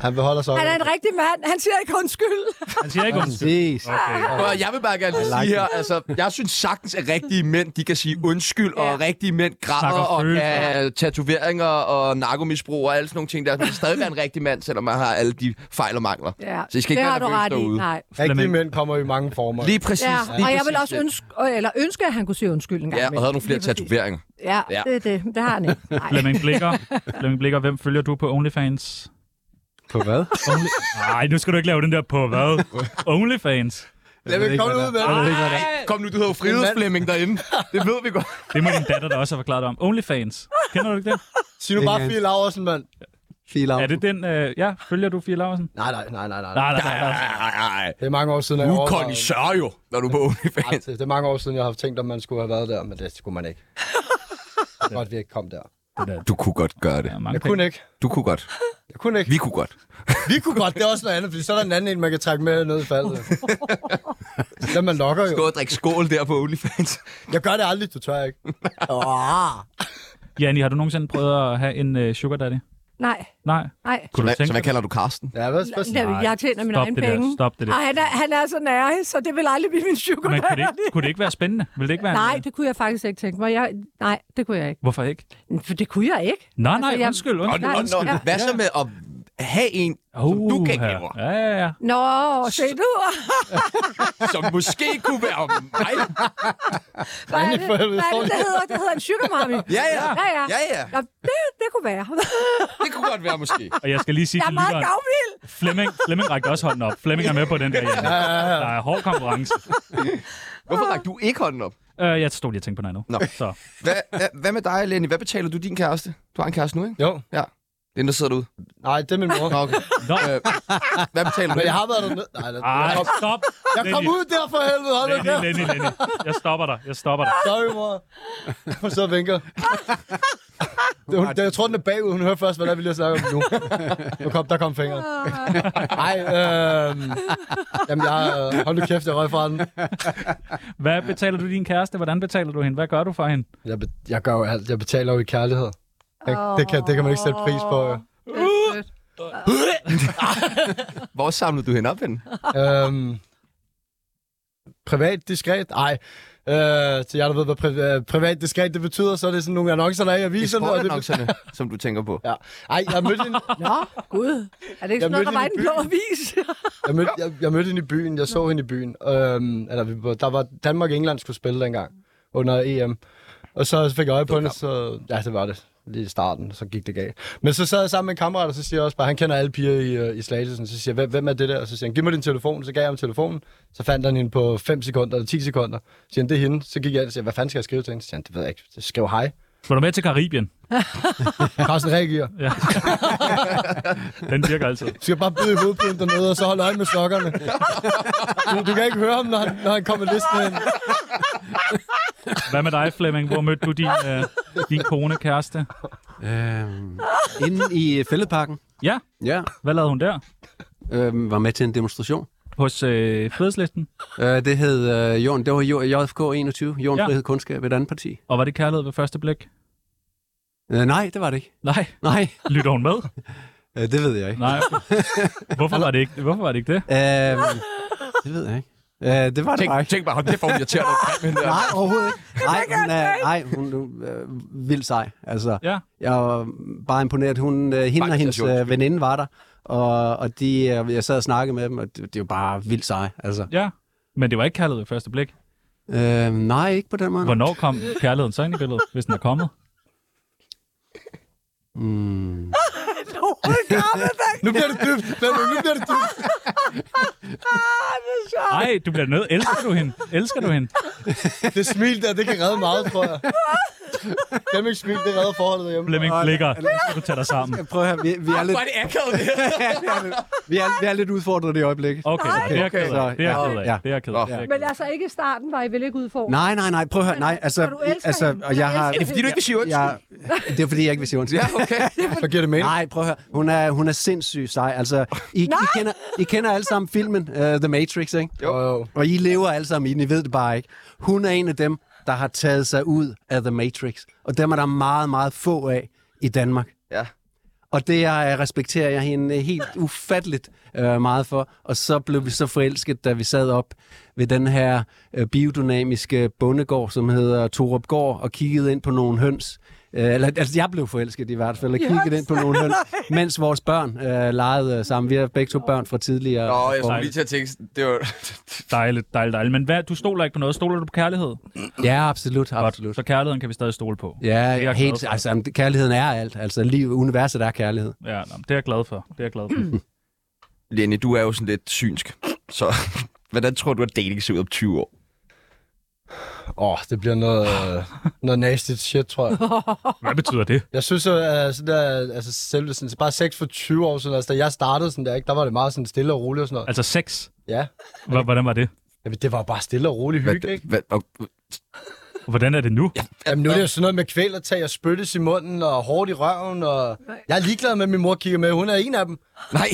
Speaker 2: Han beholder sig.
Speaker 1: Han er en rigtig mand. Han siger ikke undskyld.
Speaker 4: Han siger ikke undskyld.
Speaker 5: Præcis.
Speaker 4: Okay.
Speaker 3: Prøv, at- jeg vil bare gerne lige sige her, altså, jeg synes sagtens, at rigtige mænd, de kan sige undskyld, og rigtige mænd græder,
Speaker 4: Snakker
Speaker 3: og kan
Speaker 4: følelser.
Speaker 3: have tatoveringer og narkomisbrug og alle sådan nogle ting der. Man kan stadig være en rigtig mand, selvom man har alle de fejl og mangler. Så I skal ikke
Speaker 1: det
Speaker 3: være
Speaker 1: har du
Speaker 3: nervøse
Speaker 1: ret i.
Speaker 3: derude.
Speaker 1: Nej.
Speaker 2: Rigtige mænd kommer i mange former.
Speaker 3: Lige præcis.
Speaker 1: Ja,
Speaker 3: lige
Speaker 1: og jeg
Speaker 3: præcis
Speaker 1: vil også
Speaker 3: det.
Speaker 1: ønske, eller ønske, at han kunne sige undskyld en gang.
Speaker 3: Ja, og
Speaker 1: imellem.
Speaker 3: havde nogle flere
Speaker 1: Lige præcis.
Speaker 3: tatoveringer.
Speaker 1: Ja,
Speaker 3: Ja.
Speaker 1: det er det. Det har han ikke. Nej.
Speaker 4: Flemming Blikker. Flemming Blikker, hvem følger du på OnlyFans?
Speaker 5: På hvad?
Speaker 4: Only... Ej, nu skal du ikke lave den der på hvad? OnlyFans.
Speaker 2: Lad mig komme ud med det.
Speaker 3: Ej, Kom nu, du hedder jo frihedsflemming derinde. Det ved vi godt.
Speaker 4: Det må din datter da også have forklaret dig om. OnlyFans. Kender du ikke det?
Speaker 2: Sig nu bare Fie Laversen, mand.
Speaker 5: Fil af.
Speaker 4: Er det den... Øh... Ja, følger du Fie Larsen?
Speaker 2: Nej, nej, nej, nej, nej.
Speaker 4: Nej, nej, nej. nej.
Speaker 3: Nej,
Speaker 2: Det er mange år siden, jeg
Speaker 3: du er
Speaker 2: overvejede-
Speaker 3: kondisør jo, når du er på
Speaker 2: Ej,
Speaker 3: OnlyFans.
Speaker 2: det- Det er mange år siden, jeg har tænkt, om man skulle have været der, men det skulle man ikke. Det er godt, vi ikke kom der.
Speaker 3: Du kunne godt gøre det.
Speaker 4: Der er mange
Speaker 2: Jeg
Speaker 4: penge.
Speaker 2: kunne ikke.
Speaker 3: Du kunne godt.
Speaker 2: Jeg kunne ikke.
Speaker 3: Vi kunne godt.
Speaker 2: Vi kunne godt, det er også noget andet, fordi så er der en anden en, man kan trække med ned i faldet. Den man lokker jo.
Speaker 3: Gå og drikke skål der på OnlyFans.
Speaker 2: Jeg gør det aldrig, du tør ikke.
Speaker 4: Janni, har du nogensinde prøvet at have en øh, sugar daddy?
Speaker 1: Nej,
Speaker 4: Nej.
Speaker 1: nej.
Speaker 4: Kunne du
Speaker 3: Hvad- Så
Speaker 4: tænke
Speaker 3: hvad kalder du Karsten?
Speaker 2: Ja, hvad, hvad,
Speaker 1: Lad- Jeg tjener mine
Speaker 4: Stop
Speaker 1: egne
Speaker 4: det der.
Speaker 1: penge.
Speaker 4: Stop det der.
Speaker 1: Ej, han er, han er så nær, så det vil aldrig blive min sugar
Speaker 4: Men kunne det,
Speaker 1: daddy.
Speaker 4: ikke, kunne det ikke være spændende? Vil det ikke være en-
Speaker 1: Nej, det kunne jeg faktisk ikke tænke mig. Jeg, nej, det kunne jeg ikke.
Speaker 4: Hvorfor ikke?
Speaker 1: For det kunne jeg ikke.
Speaker 4: Nej, nej,
Speaker 1: Altså, jeg-
Speaker 4: undskyld,
Speaker 3: Og,
Speaker 4: undskyld.
Speaker 1: Nej,
Speaker 3: og, og,
Speaker 1: ja.
Speaker 3: hvad så med at have en, som du kan
Speaker 4: Uha.
Speaker 3: give,
Speaker 4: Ja, ja, ja.
Speaker 1: Nå, se du.
Speaker 3: som måske kunne være mig?
Speaker 1: Hvad er det,
Speaker 2: for
Speaker 1: hvad er
Speaker 2: helvede, står
Speaker 1: det, det
Speaker 2: lige-
Speaker 1: hedder? Det hedder en sugar mommy.
Speaker 3: Ja, ja.
Speaker 1: Ja, ja.
Speaker 3: Ja, ja.
Speaker 1: Nå, det, det kunne være.
Speaker 3: Det kunne godt være måske.
Speaker 4: Og jeg skal lige sige
Speaker 1: Jeg
Speaker 4: til
Speaker 1: er meget
Speaker 4: lytteren,
Speaker 1: gavmild.
Speaker 4: Flemming, Flemming rækker også hånden op. Flemming er med på den der, Janni. Der er hård konkurrence.
Speaker 3: Hvorfor rakte du ikke hånden op?
Speaker 4: Øh, jeg stod lige og tænkte på noget andet.
Speaker 3: Nå.
Speaker 4: Så.
Speaker 3: Hvad, hvad, hvad med dig, Lenny? Hvad betaler du din kæreste? Du har en kæreste nu, ikke?
Speaker 2: Jo,
Speaker 3: Ja. Den, der sidder derude.
Speaker 2: nej, det er min mor.
Speaker 3: Nå, okay.
Speaker 4: Nå.
Speaker 3: Øh, hvad betaler du?
Speaker 2: Men jeg har været dernede. Nej, det,
Speaker 4: Ej,
Speaker 2: jeg, kom,
Speaker 4: stop.
Speaker 2: jeg kom ud der for helvede. Hold da
Speaker 4: Lenny,
Speaker 2: kæft.
Speaker 4: Lenny, Lenny. Jeg stopper dig. Jeg stopper dig.
Speaker 2: Sorry, mor. Hun sidder og vinker. Det, hun, det, jeg tror, den er bagud. Hun hører først, hvad der vi lige snakker om nu. nu kom, der kom fingeren. Nej, øh, jamen, jeg, øh, hold nu kæft, jeg røg fra den.
Speaker 4: Hvad betaler du din kæreste? Hvordan betaler du hende? Hvad gør du for hende?
Speaker 2: Jeg, be- jeg, gør jo alt. jeg betaler jo i kærlighed. Det, det, kan, det kan man ikke sætte pris på. Jo.
Speaker 1: Uh!
Speaker 3: Hvor samlede du hende op henne?
Speaker 2: øhm, privat, diskret? Nej. Øh, til jer, der ved, hvad pri- øh, privat, diskret det betyder, så er det sådan nogle annoncer, der er i aviserne. og det-
Speaker 3: Eksportannoncerne, som du tænker på.
Speaker 2: Ja. Ej, jeg mødte hende,
Speaker 1: Nå, gud. Er det ikke
Speaker 2: Jeg
Speaker 1: sådan noget, der
Speaker 2: mødte
Speaker 1: var i
Speaker 2: hende i
Speaker 1: den blå avis?
Speaker 2: jeg mødte, jeg, jeg mødte hende i byen. Jeg så hende i byen. Øhm, eller, vi var- der var Danmark og England skulle spille dengang under EM. Og så fik jeg øje på hende, så... Ja, det var det. Lige i starten, så gik det galt. Men så sad jeg sammen med en kammerat, og så siger jeg også bare, han kender alle piger i, øh, i Slagelse, så siger jeg, "Hvem- hvem er det der? Og så siger han, giv mig din telefon. Så gav jeg ham telefonen, så fandt han hende på 5 sekunder eller 10 sekunder. Så siger han, det er hende. Så gik jeg ind og siger, hvad fanden skal jeg skrive til hende? Så siger han, det ved jeg ikke. Så skriv hej.
Speaker 4: Slå dig med til Karibien.
Speaker 2: Carsten reagerer.
Speaker 4: Ja. Den virker altid.
Speaker 2: Du skal bare bide i hovedpuden dernede, og så holde øje med sokkerne. Du, du kan ikke høre ham, når han, når han kommer listen ind.
Speaker 4: Hvad med dig, Flemming? Hvor mødte du din, øh, din kone, kæreste?
Speaker 5: Øhm, inden i fældeparken,
Speaker 4: Ja,
Speaker 5: ja,
Speaker 4: hvad lavede hun der?
Speaker 5: øhm, var med til en demonstration.
Speaker 4: Hos øh, Fredslisten.
Speaker 5: Øh, det hed øh, Jorden, det var J- JFK 21, Jorden
Speaker 4: Ja.
Speaker 5: ja. Frihed Kundskab, et andet parti.
Speaker 4: Og var det kærlighed ved første blik?
Speaker 5: Øh, nej, det var det ikke.
Speaker 4: Nej.
Speaker 5: Nej,
Speaker 4: Lytter hun med?
Speaker 5: øh, det ved jeg ikke.
Speaker 4: Nej. Hvorfor var det ikke, hvorfor var det, ikke det?
Speaker 5: Øhm, det ved jeg ikke. Øh, det var det
Speaker 3: Tænk,
Speaker 5: bare ikke.
Speaker 3: tænk bare, hold kæft, hvor hun irriterer dig. Men, øh,
Speaker 5: Nej, overhovedet ikke. Nej, hun er, nej, hun er øh, vildt sej. Altså,
Speaker 4: Ja.
Speaker 5: Jeg var bare imponeret. Hun, øh, hende
Speaker 3: Faktisk er
Speaker 5: og hendes
Speaker 3: sjovt.
Speaker 5: øh, veninde var der, og, og de, øh, jeg sad og snakkede med dem, og det, det var bare vildt sej. Altså.
Speaker 4: Ja. Men det var ikke kærlighed ved første blik.
Speaker 5: Øh, nej, ikke på den måde.
Speaker 4: Hvornår kom kærligheden så ind i billedet, hvis den er kommet?
Speaker 5: Mm.
Speaker 2: Nu bliver det dybt. Flemming, Nu bliver det dybt.
Speaker 4: Nej, du bliver nødt. Elsker du hende? Elsker du hende?
Speaker 2: Det smil der, det kan redde meget, tror jeg. Flemmings smil, det redder forholdet derhjemme.
Speaker 4: Flemming blikker. Nu skal du tage dig sammen.
Speaker 5: Prøv at høre, vi, vi, er lidt,
Speaker 3: Hvor er det akavet, det her?
Speaker 5: vi, er, vi er lidt udfordret i øjeblikket.
Speaker 4: Okay, så det er jeg ked af. Det er jeg ked
Speaker 5: Ja.
Speaker 4: af. Det er jeg ked af. Det er jeg ked af.
Speaker 1: Men altså ikke i starten var I vel ikke udfordret?
Speaker 5: Nej, nej, nej, prøv at høre, nej, altså,
Speaker 1: Og du elsker
Speaker 5: altså,
Speaker 1: hende.
Speaker 5: og jeg har,
Speaker 1: Er det, fordi
Speaker 3: du ikke vil sige
Speaker 5: jeg, det er fordi, jeg ikke vil sige undskyld.
Speaker 3: Okay.
Speaker 2: Så giver det mening.
Speaker 5: Nej, prøv at høre. Hun er, hun er sindssygt sej. Altså, I, I, kender, I kender alle sammen filmen uh, The Matrix, ikke?
Speaker 2: Jo. jo.
Speaker 5: Og I lever alle sammen i den, I ved det bare ikke. Hun er en af dem, der har taget sig ud af The Matrix. Og dem er der meget, meget få af i Danmark.
Speaker 3: Ja.
Speaker 5: Og det jeg øh, respekterer jeg hende øh, helt ufatteligt øh, meget for. Og så blev vi så forelsket, da vi sad op ved den her øh, biodynamiske bondegård, som hedder Torup Gård, og kiggede ind på nogle høns. Øh, eller, altså, jeg blev forelsket i hvert fald, og kiggede ind på nogle høns, mens vores børn øh, legede øh, sammen. Vi har begge to børn fra tidligere.
Speaker 3: Nå, jeg
Speaker 5: forhold.
Speaker 3: skulle lige til at tænke, det var...
Speaker 4: Dejligt, dejligt, dejligt. Men hvad, du stoler ikke på noget. Stoler du på kærlighed?
Speaker 5: Ja, absolut,
Speaker 4: Godt.
Speaker 5: absolut.
Speaker 4: Så kærligheden kan vi stadig stole på. er
Speaker 5: Ja,
Speaker 4: jeg glad
Speaker 5: helt,
Speaker 4: for.
Speaker 5: altså, jamen, det- kærligheden er alt. Altså, liv, universet er kærlighed.
Speaker 4: Ja, nå, men det er jeg glad for. Det er jeg glad for.
Speaker 3: Lenny, du er jo sådan lidt synsk, så hvordan tror du, at dating ser ud om 20 år?
Speaker 2: Åh, oh, det bliver noget, øh, noget nasty shit, tror jeg.
Speaker 4: Hvad betyder det?
Speaker 2: Jeg synes, at uh, sådan der, altså, selve, sådan, bare 6 for 20 år siden, altså, da jeg startede sådan der, ikke, der var det meget sådan stille og roligt og sådan noget.
Speaker 4: Altså sex.
Speaker 2: Ja.
Speaker 4: Hva- Hvordan var det?
Speaker 2: Jamen, det var bare stille og roligt hygge, ikke?
Speaker 3: hvad, og,
Speaker 4: Hvordan er det nu?
Speaker 2: Jamen, nu er det jo sådan noget med kvælertag og spyttes i munden og hårdt i røven, og jeg er ligeglad med, at min mor kigger med. Hun er en af dem.
Speaker 3: nej.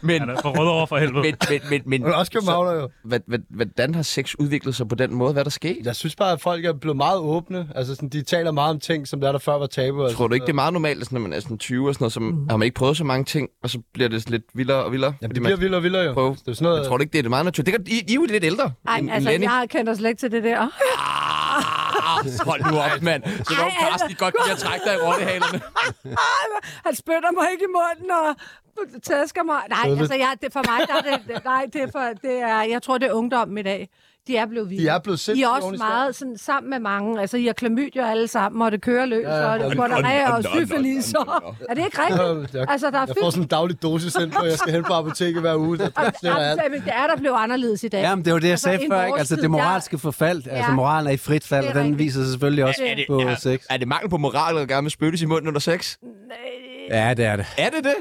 Speaker 3: men,
Speaker 4: Han er for rød over for helvede.
Speaker 3: men, men, men, men,
Speaker 2: Hun er også københavner jo.
Speaker 3: hvad, hvad, hvordan har sex udviklet sig på den måde? Hvad er der sket?
Speaker 2: Jeg synes bare, at folk er blevet meget åbne. Altså, sådan, de taler meget om ting, som der, der før var tabu. Altså,
Speaker 3: Tror du ikke, det er meget normalt, at sådan, når man er sådan 20 og sådan noget, så har man ikke prøvet så mange ting, og så bliver det sådan lidt vildere og vildere?
Speaker 2: Mhm. Jamen,
Speaker 3: fordi
Speaker 2: det bliver
Speaker 3: man
Speaker 2: vildere og vildere jo.
Speaker 3: prøve.
Speaker 2: Det er sådan noget,
Speaker 3: Jeg tror du ikke, det er meget naturligt. Det kan, I, I er jo lidt ældre
Speaker 1: Ej,
Speaker 3: end,
Speaker 1: altså,
Speaker 3: end Lenny.
Speaker 1: jeg kender slet ikke til det der.
Speaker 3: Ah, hold nu op, mand. Så
Speaker 1: Ej,
Speaker 3: når Karsten
Speaker 1: altså.
Speaker 3: godt kan jeg trække dig i rottehalerne.
Speaker 1: Han spytter mig ikke i munden og tasker mig. Nej,
Speaker 2: Sødligt.
Speaker 1: altså, jeg, det, for mig, der er det, nej, det er for, det er, jeg tror, det er ungdommen i dag. De er blevet vilde.
Speaker 2: De er blevet
Speaker 1: I er
Speaker 2: sindssygt
Speaker 1: også meget sådan, sammen med mange. Altså, I har klamydia alle sammen, og det kører løs,
Speaker 2: ja.
Speaker 1: og det er gonorrhea og syfilis. og- Er det ikke rigtigt?
Speaker 2: Jeg,
Speaker 1: Altså, der er
Speaker 2: jeg får
Speaker 1: fyldt
Speaker 2: sådan en daglig dosis ind, hvor jeg skal hen på apoteket hver uge. Der, der sletter alt.
Speaker 1: Jamen, det er der blev anderledes i dag.
Speaker 5: Jamen, det var det, jeg
Speaker 1: Altså,
Speaker 5: sagde
Speaker 1: inden
Speaker 5: før,
Speaker 1: vores
Speaker 5: ikke? Altså,
Speaker 1: tid,
Speaker 5: det
Speaker 1: der-
Speaker 5: moralske forfald. Altså, moralen er i frit fald,
Speaker 1: Det
Speaker 5: og
Speaker 1: er
Speaker 5: den
Speaker 1: rigtigt.
Speaker 5: viser sig selvfølgelig også
Speaker 1: Er
Speaker 5: på
Speaker 3: er,
Speaker 5: sex.
Speaker 3: er det mangel på moral, at gerne vil spyttes i munden under sex?
Speaker 5: Ja, det er det.
Speaker 3: Er det det?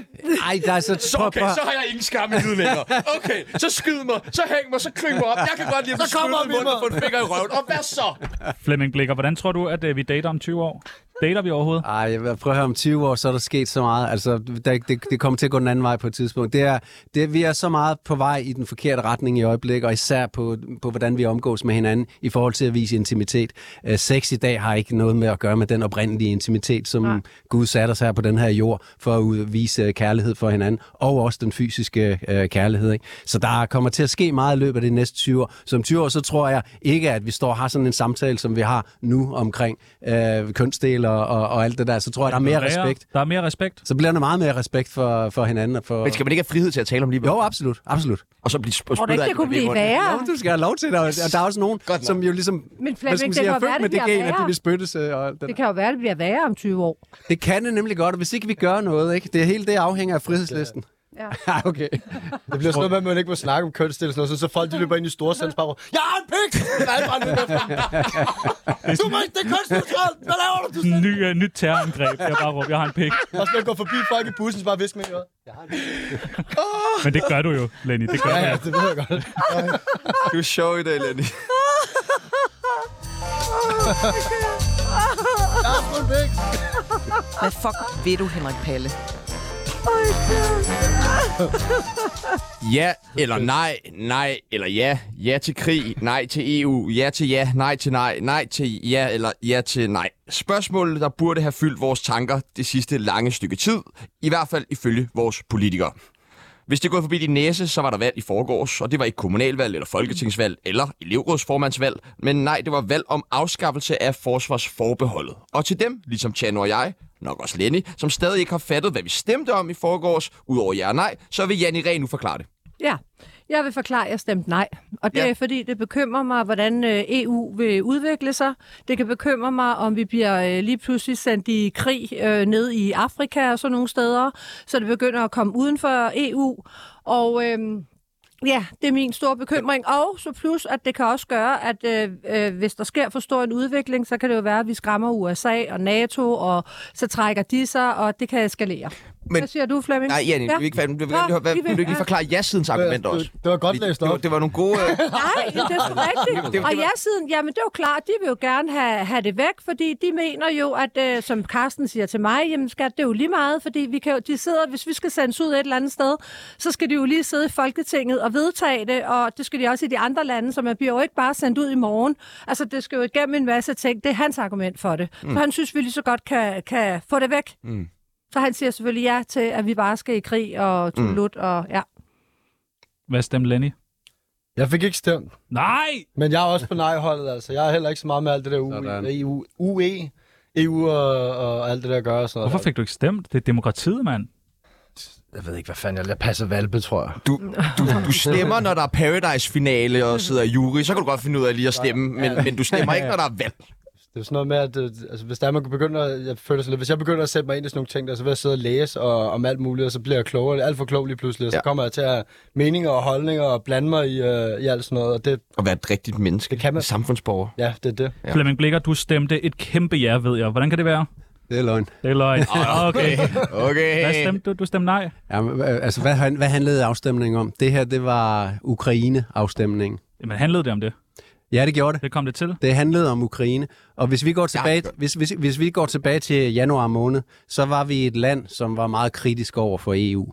Speaker 5: Ej, der er så...
Speaker 3: Så, okay, så har jeg ingen skam i livet længere. Okay, så skyd mig, så hæng mig, så kryb mig op. Jeg kan godt lide at få
Speaker 2: kommer
Speaker 3: spyttet i
Speaker 2: vi
Speaker 3: munden
Speaker 2: mig.
Speaker 3: og få en finger i røven. Og hvad så?
Speaker 4: Flemming Blikker, hvordan tror du, at øh, vi dater om 20 år? Dater vi overhovedet?
Speaker 5: Ej, jeg vil prøve at høre, om 20 år, så er der sket så meget. Altså, der, det, det kommer til at gå den anden vej på et tidspunkt. Det er, det, vi er så meget på vej i den forkerte retning i øjeblikket, og især på, på, hvordan vi omgås med hinanden i forhold til at vise intimitet. Øh, sex i dag har ikke noget med at gøre med den oprindelige intimitet, som Nej. Gud satte os her på den her jord, for at ud- vise øh, kærlighed for hinanden, og også den fysiske øh, kærlighed. Ikke? Så der kommer til at ske meget i løbet af de næste 20 år. Som 20 år, så tror jeg ikke, at vi står og har sådan en samtale, som vi har nu omkring øh, kønsdel og, og, og alt det der. Så tror jeg, der er mere respekt.
Speaker 4: Der er mere respekt.
Speaker 5: Så bliver der meget mere respekt for, for hinanden. Og for...
Speaker 3: Men skal man ikke have frihed til at tale om livet?
Speaker 5: Jo, absolut. absolut.
Speaker 3: Og så blive sp-
Speaker 1: Tror du ikke, det kunne blive værre?
Speaker 5: Du skal have lov til det, og og der er også nogen,
Speaker 3: Godt
Speaker 5: som jo ligesom
Speaker 1: Men
Speaker 5: hvad
Speaker 1: Flemming,
Speaker 5: skal man
Speaker 1: det
Speaker 5: sige,
Speaker 1: kan
Speaker 5: er
Speaker 1: jo
Speaker 5: født
Speaker 1: være,
Speaker 5: med
Speaker 1: det
Speaker 5: det
Speaker 1: bliver
Speaker 5: gen, at de
Speaker 1: værre.
Speaker 5: vil spyttes. Øh, og alt det,
Speaker 1: Det
Speaker 5: det,
Speaker 1: kan jo være, det bliver værre om 20 år.
Speaker 5: det kan det nemlig godt, og hvis ikke vi gør noget, ikke? det hele det afhænger af frihedslisten.
Speaker 1: Ja.
Speaker 5: Ja, okay.
Speaker 2: Det bliver sådan noget med, at man ikke må snakke om kønsdel og sådan noget, så- så folk de løber ind i store sands bare råber, Jeg har en pik! Den er alt brændt ud derfra." Du må ikke, det er kønsneutralt! Hvad laver du? du?
Speaker 4: Ny, øh, nyt terrorangreb. Jeg bare råber, jeg har en pik.
Speaker 2: Og så går forbi folk i bussen, så bare visker med i øret. "Jeg har en pik."
Speaker 4: Men det gør du jo, Lenny. Det
Speaker 2: Ja,
Speaker 4: gør du
Speaker 2: ja,
Speaker 4: jo.
Speaker 2: det ved jeg godt.
Speaker 3: Du er sjov i dag, Lenny.
Speaker 2: Jeg har fået en pik!
Speaker 6: Hvad fuck ved du, Henrik Palle?
Speaker 3: Ja eller nej, nej eller ja. Ja til krig, nej til EU, ja til ja, nej til nej, nej til ja eller ja til nej. Spørgsmålet, der burde have fyldt vores tanker det sidste lange stykke tid, i hvert fald ifølge vores politikere. Hvis det er gået forbi din næse, så var der valg i forgårs, og det var ikke kommunalvalg eller folketingsvalg eller elevrådsformandsvalg, men nej, det var valg om afskaffelse af forsvarsforbeholdet. Og til dem, ligesom Tjano og jeg, nok også Lenny, som stadig ikke har fattet, hvad vi stemte om i forgårs, udover ja og nej, så vil Janni Ren nu forklare det.
Speaker 1: Ja, jeg vil forklare, at jeg stemte nej. Og det
Speaker 3: Ja.
Speaker 1: ja. er fordi, det bekymrer mig, hvordan øh, EU vil udvikle sig. Det kan bekymre mig, om vi bliver øh, lige pludselig sendt i krig øh, ned i Afrika og sådan nogle steder. Så det begynder at komme uden for EU. Og øhm, ja, det er min store bekymring. Og så plus, at det kan også gøre, at øh, øh, hvis der sker for stor en udvikling, så kan det jo være, at vi skræmmer USA og NATO, og så trækker de sig, og det kan eskalere.
Speaker 3: Men-
Speaker 1: Men, Hvad siger du, Flemming?
Speaker 3: Nej, Janne, ja. vi er ikke færdige. Vi vil gerne lige høre, hvad,
Speaker 1: vi
Speaker 3: vil
Speaker 1: vil-
Speaker 3: du ikke lige
Speaker 1: ja.
Speaker 3: forklare ja-sidens argumenter
Speaker 2: Det-
Speaker 3: også?
Speaker 2: det var godt
Speaker 3: Fordi
Speaker 2: læst
Speaker 3: det var-
Speaker 2: op.
Speaker 3: Det var nogle gode... øh,
Speaker 1: Nej, men det er sgu
Speaker 3: det
Speaker 1: rigtigt.
Speaker 3: var-
Speaker 1: Og ja, siden, jamen det er jo klart, de vil jo gerne have, have det væk, fordi de mener jo, at øh, som Carsten siger til mig, jamen skat, det er jo lige meget, fordi vi kan, jo- de sidder, hvis vi skal sendes ud et eller andet sted, så skal de jo lige sidde i Folketinget og vedtage det, og det skal de også i de andre lande, så man bliver jo ikke bare sendt ud i morgen. Altså, det skal jo igennem en masse ting. Det er hans argument for det. Mm. For han synes, vi lige så godt kan, kan få det væk. Mm. Så han siger selvfølgelig ja til, at vi bare skal i krig og tulut og ja.
Speaker 4: Hvad stemte Lenny?
Speaker 2: Jeg fik ikke stemt,
Speaker 4: Nej!
Speaker 2: men jeg er også på nej-holdet, altså. Jeg er heller ikke så meget med alt det der E-
Speaker 5: Sådan.
Speaker 2: UE, EU, UE, EU E, og, og alt det der gør og sådan noget.
Speaker 4: Hvorfor fik du ikke stemt? Det er demokratiet, mand.
Speaker 2: Jeg ved ikke, hvad fanden jeg, jeg passer valpe, tror jeg.
Speaker 3: Du, du, du stemmer, når der er Paradise-finale og sidder i jury, så kan du godt finde ud af lige at stemme, men, men du stemmer ikke, når der er valg.
Speaker 2: Det er sådan noget med, at øh, altså, hvis der er, man begynder, jeg føler sådan lidt, hvis jeg begynder at sætte mig ind i sådan nogle ting, der, så vil jeg sidde og læse og, om alt muligt, og så bliver jeg klogere, alt for klog lige pludselig, og så
Speaker 3: Ja.
Speaker 2: kommer jeg til at have meninger og holdninger og blande mig i, øh, i alt sådan noget, og det,
Speaker 3: At være et rigtigt menneske.
Speaker 2: Det kan man.
Speaker 3: En Samfundsborger.
Speaker 2: ja, det er det.
Speaker 4: Ja. Flemming Blikker, du stemte et kæmpe ja, ved jeg. Hvordan kan det være?
Speaker 5: Det er løgn.
Speaker 4: Det er løgn. Okay.
Speaker 3: Okay.
Speaker 4: Hvad stemte du? Du stemte nej.
Speaker 5: Jamen, hva- altså, hvad, han- hvad handlede afstemningen om? Det her, det var Ukraine-afstemningen.
Speaker 4: Jamen, handlede det om det?
Speaker 5: Ja, det gjorde det.
Speaker 4: Det kom det til.
Speaker 5: Det handlede om Ukraine. Og hvis vi går tilbage, Mm. ja. hvis, hvis, hvis vi går tilbage til januar måned, så var vi et land, som var meget kritisk over for EU.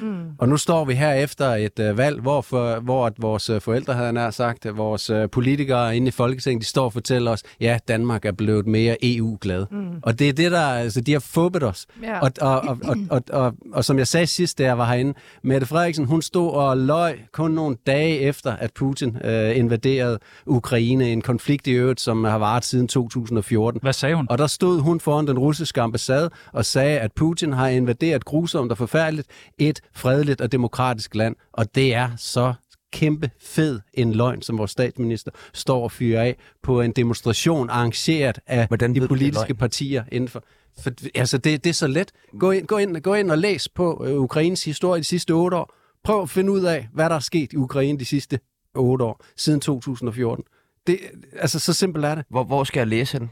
Speaker 5: Mm. Og nu står vi her efter et øh, valg, hvor, for, hvor at vores øh, forældre havde jeg nær sagt, at vores øh, politikere inde i Folketinget, de står og fortæller os, ja, Danmark er blevet mere EU-glad. Mm. Og det er det, der, altså, de har fubbet os.
Speaker 1: Ja.
Speaker 5: Og, og, og, og, og, og, og som jeg sagde sidst, da jeg var herinde, Mette Frederiksen, hun stod og løj kun nogle dage efter, at Putin øh, invaderede Ukraine, en konflikt i øvrigt, som har varet siden 2014.
Speaker 4: Hvad sagde hun?
Speaker 5: Og der stod hun foran den russiske ambassade og sagde, at Putin har invaderet grusomt og forfærdeligt et fredeligt og demokratisk land. Og det er så kæmpe fed en løgn, som vores statsminister står og fyrer af på en demonstration arrangeret af
Speaker 3: Hvordan
Speaker 5: de
Speaker 3: ved du, det er
Speaker 5: politiske
Speaker 3: løgn?
Speaker 5: partier inden for... for altså, det, det er så let. Gå ind, gå ind, gå ind og læs på øh, Ukraines historie de sidste otte år. Prøv at finde ud af, hvad der er sket i Ukraine de sidste otte år, siden 2014. Det, altså, så simpelt er det.
Speaker 3: Hvor, hvor skal jeg læse den?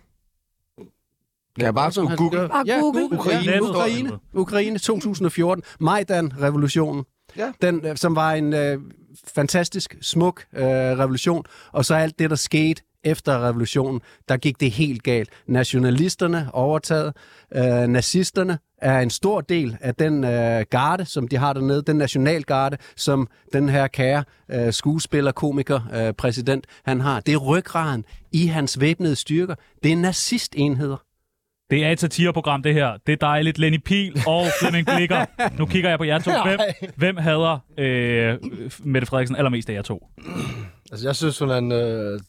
Speaker 3: Kan jeg bare
Speaker 5: Som han
Speaker 3: skulle google?
Speaker 5: gør.
Speaker 1: Bare Google.
Speaker 3: Ukraine.
Speaker 5: Ja,
Speaker 4: Nettet.
Speaker 5: Ukraine. Ukraine 2014. Majdan-revolutionen.
Speaker 3: Ja.
Speaker 5: Den, øh, som var en øh, fantastisk, smuk øh, revolution. Og så alt det, der skete efter revolutionen, der gik det helt galt. Nationalisterne overtaget, øh, nazisterne er en stor del af den øh, garde, som de har dernede, den nationalgarde, som den her kære øh, skuespiller, komiker, øh, præsident, han har. Det er ryggraden i hans væbnede styrker. Det er nazistenheder.
Speaker 4: Det er et satireprogram, det her. Det er dejligt. Lenny Pil og Flemming Blikker. Nu kigger jeg på jer to. Hvem, hvem hader øh, Mette Frederiksen allermest af jer to?
Speaker 2: Altså, jeg synes, hun er en øh,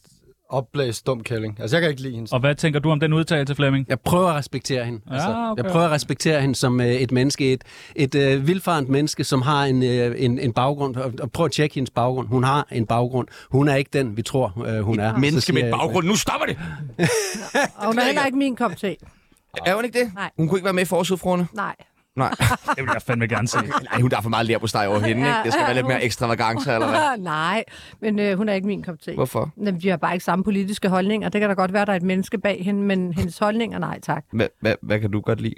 Speaker 2: opblæst dum kælling. Altså, jeg kan ikke lide hende.
Speaker 4: Og hvad tænker du om den udtalelse, Flemming?
Speaker 5: Jeg prøver at respektere hende.
Speaker 4: Ja,
Speaker 5: Altså,
Speaker 4: okay.
Speaker 5: Jeg prøver at respektere hende som øh, et menneske, et, et øh, vildfarent menneske, som har en, øh, en, en baggrund. Og, og prøv at tjekke hendes baggrund. Hun har en baggrund. Hun er ikke den, vi tror, øh, hun er. Så
Speaker 3: Menneske
Speaker 5: siger
Speaker 3: med
Speaker 5: jeg-
Speaker 3: et baggrund. Nu stopper det!
Speaker 1: Og hun er heller ikke min kop te.
Speaker 3: Er hun ikke det?
Speaker 1: Nej.
Speaker 3: Hun kunne ikke være med i forsøgfruerne.
Speaker 1: Nej.
Speaker 3: Nej.
Speaker 4: Det vil jeg fandme gerne se.
Speaker 3: Nej, hun der er for meget lær på steg over hende, ikke? Det skal være lidt mere ekstravagance, eller hvad?
Speaker 1: Nej, men øh, hun er ikke min kop te.
Speaker 3: Hvorfor?
Speaker 1: Jamen, de har bare ikke samme politiske holdninger. Det kan da godt være, der er et menneske bag hende, men hendes holdninger, nej tak.
Speaker 3: Hvad, hvad, hvad kan du godt lide?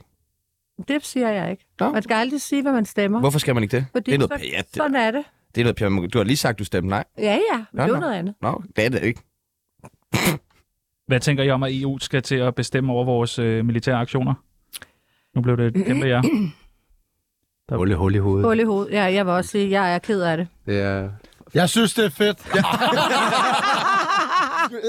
Speaker 1: Det siger jeg ikke.
Speaker 3: Nå.
Speaker 1: Man skal aldrig sige, hvad man stemmer.
Speaker 3: Hvorfor skal man ikke det?
Speaker 1: Fordi
Speaker 3: det er noget
Speaker 1: så,
Speaker 3: pjat. Det,
Speaker 1: Sådan er det.
Speaker 3: det er noget pjat. Du har lige sagt, du stemte nej.
Speaker 1: Ja, ja. Men
Speaker 3: Nå,
Speaker 1: det er jo
Speaker 3: nå.
Speaker 1: noget andet.
Speaker 3: Nå, det er det ikke.
Speaker 4: Hvad tænker I om, at EU skal til at bestemme over vores øh, militære aktioner? Nu blev det et kæmpe jer.
Speaker 5: Hul i hul i hovedet.
Speaker 1: Hul i hovedet. Ja, jeg vil også sige, jeg er ked af det.
Speaker 5: Det er...
Speaker 2: Jeg synes, det er fedt.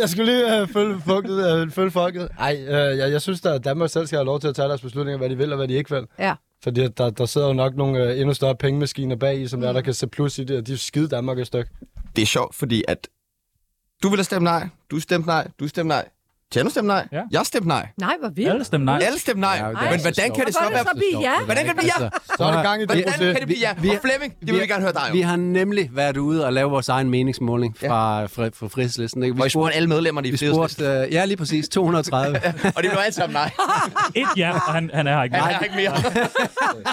Speaker 2: jeg skulle lige øh, følge, folket, øh, følge folket. Ej, øh, jeg, jeg synes, at Danmark selv skal have lov til at tage deres beslutninger, hvad de vil og hvad de ikke vil.
Speaker 1: Ja.
Speaker 2: Fordi at der, der sidder jo nok nogle øh, endnu større pengemaskiner bag i, som der, der kan se plus i det, og de skide Danmark et stykke.
Speaker 3: Det er sjovt, fordi at du ville have stemt nej, du stemte nej, du stemte nej. Tjerno stemte nej,
Speaker 4: Ja.
Speaker 3: jeg stemte nej.
Speaker 1: Nej, hvor vildt.
Speaker 4: Alle stemmer nej.
Speaker 3: Alle stemte nej.
Speaker 5: Ja, det er
Speaker 3: Men
Speaker 5: så
Speaker 3: hvordan kan
Speaker 5: sjovt.
Speaker 3: det
Speaker 5: Altså,
Speaker 1: Hvor er
Speaker 3: så
Speaker 1: det
Speaker 3: være...
Speaker 1: så blive ja?
Speaker 3: Hvordan kan det blive ja?
Speaker 2: Så er der gang i det
Speaker 3: Hvordan
Speaker 2: proces.
Speaker 3: kan det blive ja?
Speaker 5: Vi-
Speaker 3: Og Flemming, det vil vi gerne høre dig
Speaker 5: Vi
Speaker 3: om.
Speaker 5: har nemlig været ude og lave vores egen meningsmåling fra, fra, fra frihedslisten. Ikke?
Speaker 3: Og
Speaker 5: Vi
Speaker 3: I spurgte alle medlemmerne i
Speaker 5: vi
Speaker 3: Frihedslisten.
Speaker 5: spurgte, øh, ja lige præcis, 230.
Speaker 3: Og det blev alt sammen nej.
Speaker 4: Et ja, og han, han er her ikke.
Speaker 3: Han er ikke mere.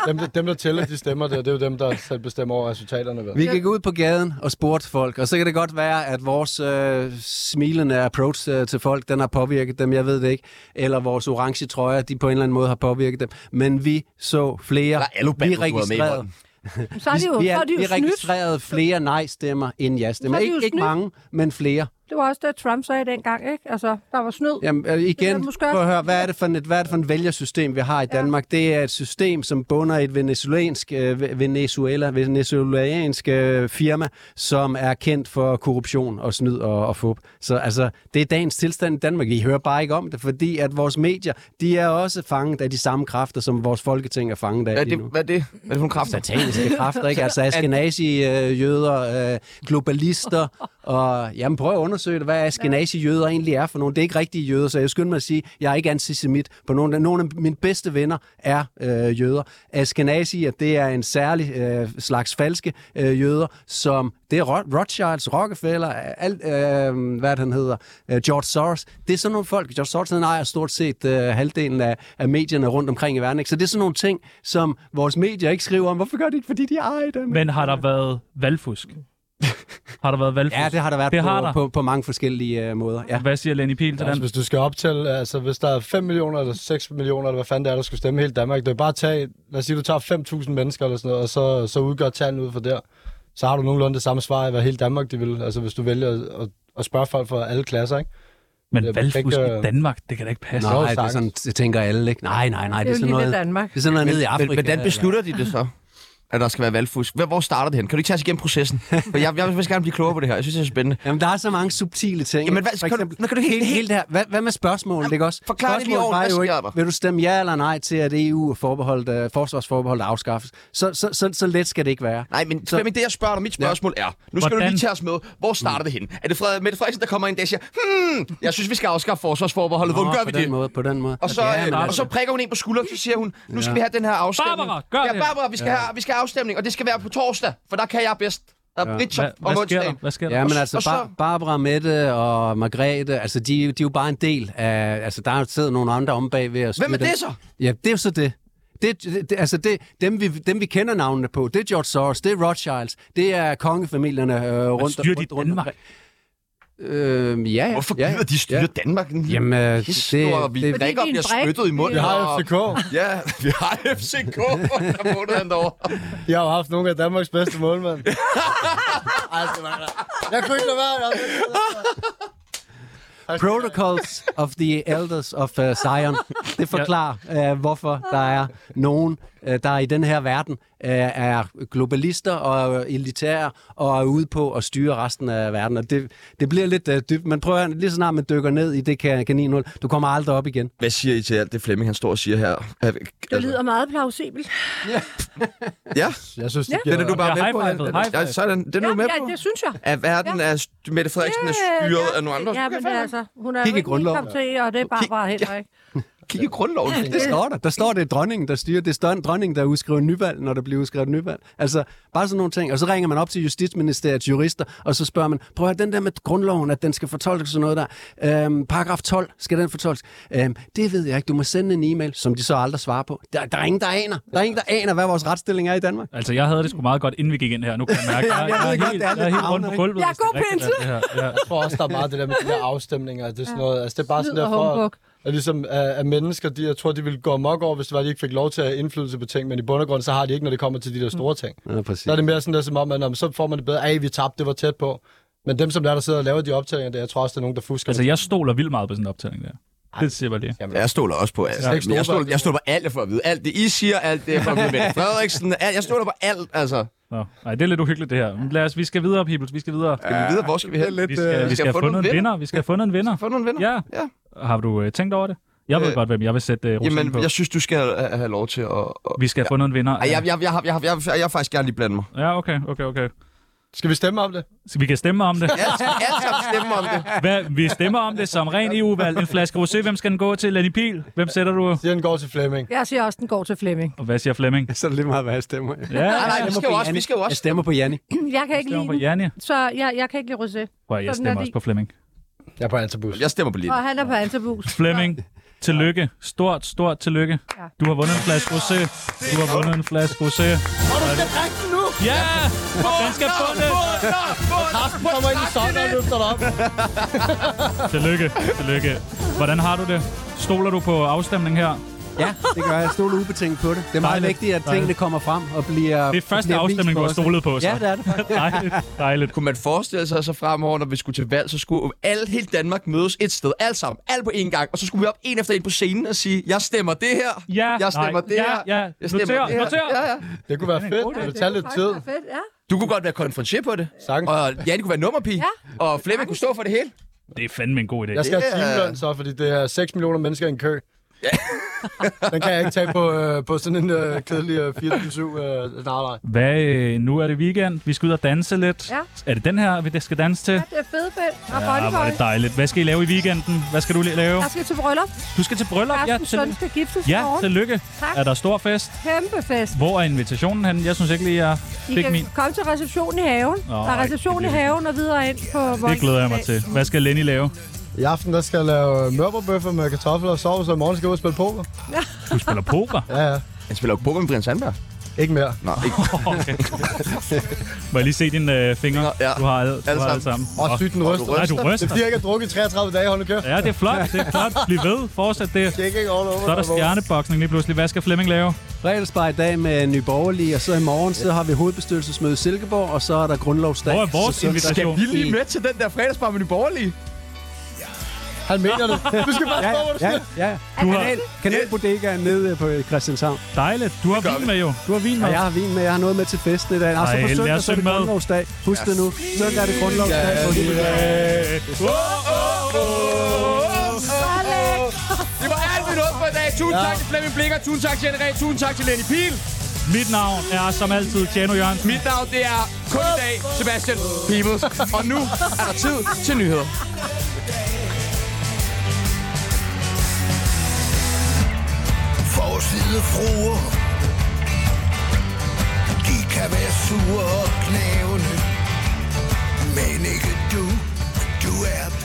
Speaker 2: Dem, der- dem, der tæller, de stemmer det, og det er jo dem, der selv bestemmer over resultaterne. Ved.
Speaker 5: Vi gik ud på gaden og spurgte folk, og så kan det godt være, at vores øh, smilende approach øh, til folk, den har påvirket dem, jeg ved det ikke, eller vores orange trøjer, de på en eller anden måde har påvirket dem, men vi så flere,
Speaker 3: Der er alubat,
Speaker 5: vi
Speaker 3: du har med i
Speaker 5: registrerede,
Speaker 3: hånden.
Speaker 1: Så er de jo,
Speaker 5: vi,
Speaker 1: så er de
Speaker 5: vi
Speaker 1: jo snydt.
Speaker 5: registrerede flere nej-stemmer end ja-stemmer.
Speaker 1: Så er de jo
Speaker 5: Ikke, ikke
Speaker 1: snydt.
Speaker 5: mange, men flere.
Speaker 1: Det var også det, Trump sagde dengang, ikke? Altså, der var snyd.
Speaker 5: Jamen, øh,
Speaker 1: Det er
Speaker 5: igen,
Speaker 1: måske
Speaker 5: prøv at
Speaker 1: også-
Speaker 5: høre, hvad er, det for et, hvad er det for et vælgersystem, vi har i Danmark? Det er et system, som bunder i et venezuelansk, øh, Venezuela, venezuelansk øh, firma, som er kendt for korruption og snyd og, og fup. Så altså, det er dagens tilstand i Danmark. I hører bare ikke om det, fordi at vores medier, de er også fanget af de samme kræfter, som vores folketing er fanget af
Speaker 3: Hvad er
Speaker 5: lige
Speaker 3: det?
Speaker 5: nu.
Speaker 3: Hvad er det? Hvad er det for nogle kræfter?
Speaker 5: Sataniske kræfter, ikke? Altså askenazi-jøder, øh, globalister, og jamen prøv at undersøge det, hvad askenazi-jøder egentlig er for nogen. Det er ikke rigtige jøder, så jeg skynder mig at sige, jeg er ikke antisemit på nogen. Nogle af mine bedste venner er øh, jøder. Askenazi, det er en særlig øh, slags falske øh, jøder, som det er Ro- Rothschilds, Rockefeller, alt, øh, hvad er det, han hedder, øh, George Soros. Det er sådan nogle folk. George Soros han ejer stort set øh, halvdelen af, af medierne rundt omkring i verden. Ikke? Så det er sådan nogle ting, som vores medier ikke skriver om. Hvorfor gør de ikke? Fordi de ejer dem.
Speaker 4: Men har der været valgfusk? Har der været valgfusk?
Speaker 5: Ja, det har der været
Speaker 4: Det
Speaker 5: på,
Speaker 4: har der.
Speaker 5: På, på mange forskellige øh, måder. Ja.
Speaker 4: Hvad siger Lenny Pil til
Speaker 2: Altså,
Speaker 4: den?
Speaker 2: hvis du skal optælle, altså hvis der er 5 millioner eller 6 millioner, eller hvad fanden det er, der skulle stemme hele Danmark, det er bare at tage, lad os sige, du tager 5.000 mennesker eller sådan noget, og så, så udgør tallene ud fra der, så har du nogenlunde det samme svar i, hvad hele Danmark de vil, altså hvis du vælger at, at, at spørge folk fra alle klasser, ikke?
Speaker 4: Men
Speaker 2: jeg
Speaker 4: valgfusk
Speaker 2: tænker-
Speaker 4: i Danmark, det kan da ikke passe.
Speaker 2: jo
Speaker 5: Nej, det, er
Speaker 2: sagtens.
Speaker 5: sådan, det tænker alle ikke. Nej, nej, nej. Det
Speaker 1: jo
Speaker 5: er sådan
Speaker 1: lille
Speaker 5: noget,
Speaker 1: Danmark.
Speaker 5: Det er sådan noget nede i Afrika.
Speaker 3: Men hvordan beslutter de det så? At der skal være valgfusk. Hvor- Hvor starter det hen? Kan du ikke tage os igennem processen? For jeg, jeg vil faktisk gerne blive klogere på det her. Jeg synes, det er spændende.
Speaker 5: Jamen, der er så mange subtile
Speaker 3: Jamen,
Speaker 5: ting. Jamen,
Speaker 3: hvad-
Speaker 5: hvad,
Speaker 3: kan
Speaker 5: for
Speaker 3: du-
Speaker 5: eksempel,
Speaker 3: men kan du helt-
Speaker 5: hele, hele det her, hvad, hvad med spørgsmålet, ikke også?
Speaker 3: forklar det lige
Speaker 5: Spørgsmålet
Speaker 3: ordentligt.
Speaker 5: var
Speaker 3: Hvad
Speaker 5: jo
Speaker 3: sker
Speaker 5: ikke,
Speaker 3: der?
Speaker 5: Vil du stemme ja eller nej til, at EU er forbeholdt, uh, forsvarsforbeholdet afskaffes? Så, så, så, så let skal det ikke være.
Speaker 3: Nej, men
Speaker 5: Så-
Speaker 3: Flemming, det jeg spørger dig, mit spørgsmål er, nu skal du
Speaker 4: Hvordan?
Speaker 3: lige tage os med, hvor starter det hen? Er det Fred, Mette Frederiksen, der kommer ind der og siger, hmm, jeg synes, vi skal afskaffe forsvarsforbeholdet, hvordan gør
Speaker 5: på
Speaker 3: vi
Speaker 5: den
Speaker 3: det?
Speaker 5: måde, på den måde.
Speaker 3: Og så,
Speaker 5: ja, men,
Speaker 3: ja, og
Speaker 5: altså,
Speaker 3: så prikker hun ind på skulderen, så siger hun, nu skal vi have den her afstemning.
Speaker 4: Barbara, gør
Speaker 3: ja,
Speaker 4: det.
Speaker 3: Barbara, vi skal, have, vi skal have afstemning, og det skal være på torsdag, for der kan jeg bedst. Der er
Speaker 4: Hvad,
Speaker 3: Richard om
Speaker 4: hvad sker der?
Speaker 3: onsdagen.
Speaker 4: Hvad sker der?
Speaker 5: ja, men
Speaker 3: og
Speaker 5: altså
Speaker 3: så-
Speaker 5: Bar- Barbara, Mette og Margrethe, altså de, de er jo bare en del af... Altså, der er jo sidder nogle andre om bagved og styrer
Speaker 3: Hvem er
Speaker 5: den.
Speaker 3: det så?
Speaker 5: Ja, det er jo så det. Det, det, det, altså det, dem, vi, dem, vi kender navnene på, det er George Soros, det er Rothschilds, det er kongefamilierne øh, rundt,
Speaker 4: styrer de
Speaker 5: rundt,
Speaker 4: Danmark?
Speaker 5: omkring. Øh, ja, ja.
Speaker 3: Hvorfor
Speaker 5: ja,
Speaker 3: gider de styre Danmark?
Speaker 5: Jamen, øh, det,
Speaker 3: det, det, vi
Speaker 5: det-
Speaker 1: Fordi det er
Speaker 3: drikker
Speaker 1: en
Speaker 3: bliver
Speaker 1: brik.
Speaker 3: spyttet i munden.
Speaker 2: Vi har
Speaker 3: og-
Speaker 2: FCK.
Speaker 3: Ja, vi har FCK. Der måtte han derovre.
Speaker 2: De har jo haft nogle af Danmarks bedste målmænd. altså, man, jeg kunne ikke lade være. Jeg,
Speaker 5: Protocols of the Elders of uh, Zion. Det forklarer, uh, hvorfor der er nogen, uh, der i den her verden uh, er globalister og elitære og er ude på at styre resten af verden. Og det, det bliver lidt uh, dybt. Man prøver lige så snart man dykker ned i det kan- kaninhul. Du kommer aldrig op igen.
Speaker 3: Hvad siger I til alt det Flemming, han står og siger her? Er-
Speaker 1: Det lyder meget plausibelt.
Speaker 3: Ja,
Speaker 2: Jeg synes, det
Speaker 1: Ja.
Speaker 2: giver...
Speaker 3: den er du bare
Speaker 4: Ja,
Speaker 3: med på.
Speaker 4: high-fivet,
Speaker 3: Anne.
Speaker 4: high-fivet.
Speaker 3: Ja, sådan. Den er du med
Speaker 1: ja,
Speaker 3: på.
Speaker 1: det synes jeg.
Speaker 3: At verden er... st- Mette Frederiksen er
Speaker 1: Ja,
Speaker 3: styret
Speaker 1: ja.
Speaker 3: af nogle andre.
Speaker 1: Ja, men det er altså, hun er jo
Speaker 5: Kig
Speaker 1: ikke
Speaker 5: i
Speaker 1: min
Speaker 5: grundloven.
Speaker 1: kop te, og det er bare, bare heller ikke.
Speaker 3: Kig i grundloven.
Speaker 5: Det står der. Der står, det er dronningen, der styrer. Det er større dronningen, der udskriver nyvalg, når der bliver udskrevet nyvalg. Altså, bare sådan nogle ting. Og så ringer man op til Justitsministeriets jurister, og så spørger man, prøv at høre, den der med grundloven, at den skal fortolkes sådan noget der. Øhm, paragraf 12, skal den fortolkes? Øhm, det ved jeg ikke. Du må sende en e-mail, som de så aldrig svarer på. Der, der er ingen, der aner. Der er ingen, der aner, hvad vores retsstilling er i Danmark.
Speaker 4: Altså, jeg havde det sgu meget godt, inden vi gik ind her. Nu kan jeg mærke, jeg,
Speaker 5: jeg ved
Speaker 4: jeg, er,
Speaker 5: godt,
Speaker 4: helt,
Speaker 5: det er
Speaker 4: jeg er
Speaker 5: lidt
Speaker 4: helt rundt på
Speaker 5: havnet,
Speaker 4: gulvet.
Speaker 1: Jeg er
Speaker 4: hvis det
Speaker 1: god
Speaker 4: rigtigt
Speaker 1: pinsel.
Speaker 4: det her. Ja.
Speaker 2: Jeg tror også, der er meget det der med de der afstemninger. Det er sådan noget, altså, det er bare sådan
Speaker 1: Lyd
Speaker 2: der
Speaker 1: og
Speaker 2: for,
Speaker 1: humbug.
Speaker 2: at, at, ligesom, at, at mennesker, de, jeg tror, de ville gå amok over, hvis det var, de ikke fik lov til at have indflydelse på ting, men i bund og grund, så har de ikke, når det kommer til de der
Speaker 1: Mm.
Speaker 2: store ting.
Speaker 5: Ja, præcis.
Speaker 2: Så er det mere sådan der, som om, at om, så får man det bedre. Ej, vi tabte, det var tæt på. Men dem, som der, der sidder og laver de optællinger, der, jeg tror også, der er nogen, der fusker.
Speaker 4: Altså, jeg stoler vildt meget på sådan en optælling der. Det siger jeg bare lige.
Speaker 3: Jeg stoler også på alt.
Speaker 2: Ja.
Speaker 3: Jeg, jeg, stoler, jeg stoler på alt, jeg får at vide. Alt det, I siger, alt det, jeg får at vide. Mette Frederiksen, alt, jeg stoler på alt, altså.
Speaker 4: Nå, nej, det er lidt uhyggeligt det her. Men lad os, vi skal videre, Peoples, vi skal videre.
Speaker 3: Skal vi videre, hvor skal Øh, vi hen?
Speaker 4: Vi
Speaker 2: øh,
Speaker 4: skal, vi skal have fundet en vinder. Vi skal have fundet en vinder.
Speaker 3: Få nogle vinder.
Speaker 4: Ja.
Speaker 3: Ja.
Speaker 4: Har du øh, tænkt over det? Jeg ved
Speaker 3: Øh,
Speaker 4: godt, hvem jeg vil sætte øh, rosinen på.
Speaker 3: Jamen, jeg synes, du skal øh, have lov til at... at-
Speaker 4: Vi skal have fundet en vinder.
Speaker 3: Ej, jeg, jeg, jeg, jeg, jeg, jeg, jeg, jeg, faktisk gerne lige blande mig.
Speaker 4: Ja, okay, okay, okay.
Speaker 2: Skal vi stemme om det?
Speaker 4: Så vi kan stemme om det.
Speaker 3: Alt, alt sammen stemmer om det.
Speaker 4: Hvad, vi stemmer om det som ren EU-valg. En flaske rosé, hvem skal den gå til? Lenny Pil? Hvem sætter du?
Speaker 2: Siger den går til Flemming.
Speaker 1: Jeg siger også, den går til Flemming.
Speaker 4: Og hvad siger Flemming?
Speaker 5: Så er det lige meget, hvad jeg stemmer. Jeg
Speaker 4: Ja,
Speaker 3: Nej, nej, vi skal jo også, vi skal jo også.
Speaker 5: stemmer på Janni.
Speaker 1: Jeg kan ikke
Speaker 4: stemmer
Speaker 1: lide
Speaker 4: på
Speaker 1: den,
Speaker 4: Janne.
Speaker 1: så jeg, jeg kan ikke lide rosé.
Speaker 4: Prøv, at, jeg
Speaker 1: Sådan er
Speaker 4: stemmer også
Speaker 1: det.
Speaker 4: på Flemming.
Speaker 2: Jeg er på Antabus.
Speaker 3: Jeg stemmer på lidt.
Speaker 1: Og han er på Antabus.
Speaker 4: Flemming, tillykke. Stort, stort tillykke.
Speaker 1: Ja.
Speaker 4: Du har vundet en flaske rosé. Du har vundet en flaske rosé.
Speaker 2: Hvor du skal drikke den nu!
Speaker 4: Ja! Den skal bundet!
Speaker 2: Karsten kommer ind i sokken og løfter dig op.
Speaker 4: Tillykke, tillykke. Hvordan har du det? Stoler du på afstemningen her?
Speaker 5: Ja, det gør jeg. Jeg stoler ubetinget på det. Det er meget
Speaker 4: Dejligt.
Speaker 5: vigtigt, at tingene
Speaker 4: Dejligt.
Speaker 5: kommer frem og bliver
Speaker 4: Det er første
Speaker 5: bliver vist
Speaker 4: afstemning,
Speaker 5: på
Speaker 4: du har
Speaker 5: os.
Speaker 4: stolet på, så.
Speaker 5: Ja, det er det faktisk.
Speaker 4: Dejligt, dejligt.
Speaker 3: Kunne man forestille sig så fremover, når vi skulle til valg, så skulle alle hele Danmark mødes et sted, alt sammen, alt på én gang, og så skulle vi op en efter en på scenen og sige, jeg stemmer det her,
Speaker 4: Ja,
Speaker 3: jeg stemmer
Speaker 4: nej,
Speaker 3: det
Speaker 4: ja,
Speaker 3: her,
Speaker 4: ja.
Speaker 3: jeg stemmer
Speaker 4: Noter,
Speaker 3: det her.
Speaker 4: noter.
Speaker 3: Ja, ja.
Speaker 2: Det kunne være fedt, men det tager lidt tid.
Speaker 1: Fedt, ja.
Speaker 3: Du kunne godt være konfronteret på det,
Speaker 2: Sagtens.
Speaker 3: og Janne kunne være nummerpige,
Speaker 1: Ja.
Speaker 3: og Flemming kunne stå for det hele.
Speaker 4: Det er fandme en god idé.
Speaker 2: Jeg skal have
Speaker 3: Det er-
Speaker 2: timeløn så, fordi det er 6 millioner mennesker i en kø. Den kan jeg ikke tage på, øh, på sådan en øh, kedelig øh, 24-7 øh, nej, nej.
Speaker 4: Hvad, øh, nu er det weekend. Vi skal ud og danse lidt.
Speaker 1: Ja.
Speaker 4: Er det den her, vi skal danse til?
Speaker 1: Det er fedt, fedt. Og
Speaker 4: Ja, hvor er det
Speaker 1: bodyboy.
Speaker 4: dejligt. Hvad skal I lave i weekenden? Hvad skal du li- lave?
Speaker 1: Jeg skal til bryllup.
Speaker 4: Du skal til bryllup. Ja,
Speaker 1: Carstens søn
Speaker 4: tillykke.
Speaker 1: skal giftes i
Speaker 4: Ja,
Speaker 1: morgen.
Speaker 4: tillykke.
Speaker 1: Tak.
Speaker 4: Er der stor fest?
Speaker 1: Kæmpe fest.
Speaker 4: Hvor er invitationen henne? Jeg synes ikke lige, jeg
Speaker 1: I
Speaker 4: fik
Speaker 1: kan
Speaker 4: min.
Speaker 1: komme til receptionen i haven.
Speaker 4: Nå,
Speaker 1: der er
Speaker 4: ej,
Speaker 1: reception i
Speaker 4: det bliver-
Speaker 1: haven og videre ind på
Speaker 4: Det glæder jeg mig til. Hvad skal Lenny lave?
Speaker 2: I aften der skal jeg lave øh, mørbrødbøffer med kartofler og sovs, og i morgen skal jeg ud og spille poker.
Speaker 4: Du spiller poker.
Speaker 2: Ja, ja.
Speaker 3: Han spiller jo poker med Brian Sandberg.
Speaker 2: Ikke mere.
Speaker 3: Nå, ikke.
Speaker 4: Okay. Må jeg lige se dine øh, fingre?
Speaker 3: Ja.
Speaker 4: Du har alle, du
Speaker 3: Alle
Speaker 4: har alle
Speaker 3: sammen.
Speaker 4: sammen.
Speaker 2: Og
Speaker 4: Åh,
Speaker 2: sygt den ryster.
Speaker 4: Nej, du
Speaker 2: Det er
Speaker 4: ryster.
Speaker 2: fordi, jeg ikke har drukket i 33 dage, hold nu kæft.
Speaker 4: Ja, det er flot. Det er flot. Bliv ved. Fortsæt det.
Speaker 2: Det er ikke all over.
Speaker 4: Så er der
Speaker 2: der er
Speaker 4: stjerneboksning lige pludselig. Hvad skal Flemming lave?
Speaker 5: Regelsbar i dag med Nye Borgerlige, og så i morgen så har vi hovedbestyrelsesmøde i Silkeborg, og så er der grundlovsdag.
Speaker 4: Hvor er vores
Speaker 5: Så- så-
Speaker 4: invitation?
Speaker 3: Vi er lige med til den der fredagsbar med de borgerlige.
Speaker 2: Han mener det. Du skal bare
Speaker 5: Ja,
Speaker 2: stå, hvor du
Speaker 5: ja,
Speaker 2: siger.
Speaker 5: ja. ja.
Speaker 4: Du har
Speaker 5: Kanal, kanalbodegaen nede på Christianshavn.
Speaker 4: dejligt. Du har vin med jo. Du har vin med.
Speaker 5: Og jeg har vin med, jeg har noget med til festen i dag. Og så
Speaker 4: Ej,
Speaker 5: på
Speaker 4: lad
Speaker 5: søndag,
Speaker 4: os
Speaker 5: så er det
Speaker 4: synge med.
Speaker 5: grundlovsdag. Husk det nu. Søndag er det grundlovsdag. på Lille Vær.
Speaker 4: Åh, åh, åh.
Speaker 3: Det var alt, vi nåede for i dag. Tusind ja. tak til Flemming Blikker. Tusind tak til Janne Ræ. Tusind tak til Lenny Pihl.
Speaker 4: Mit navn er som altid Tjano Jørgensen.
Speaker 3: Mit navn, det er kun i dag Sebastian Peebles. Og nu er der tid til nyheder.
Speaker 8: Forside fruer De kan være sure og knævende Men ikke du Du er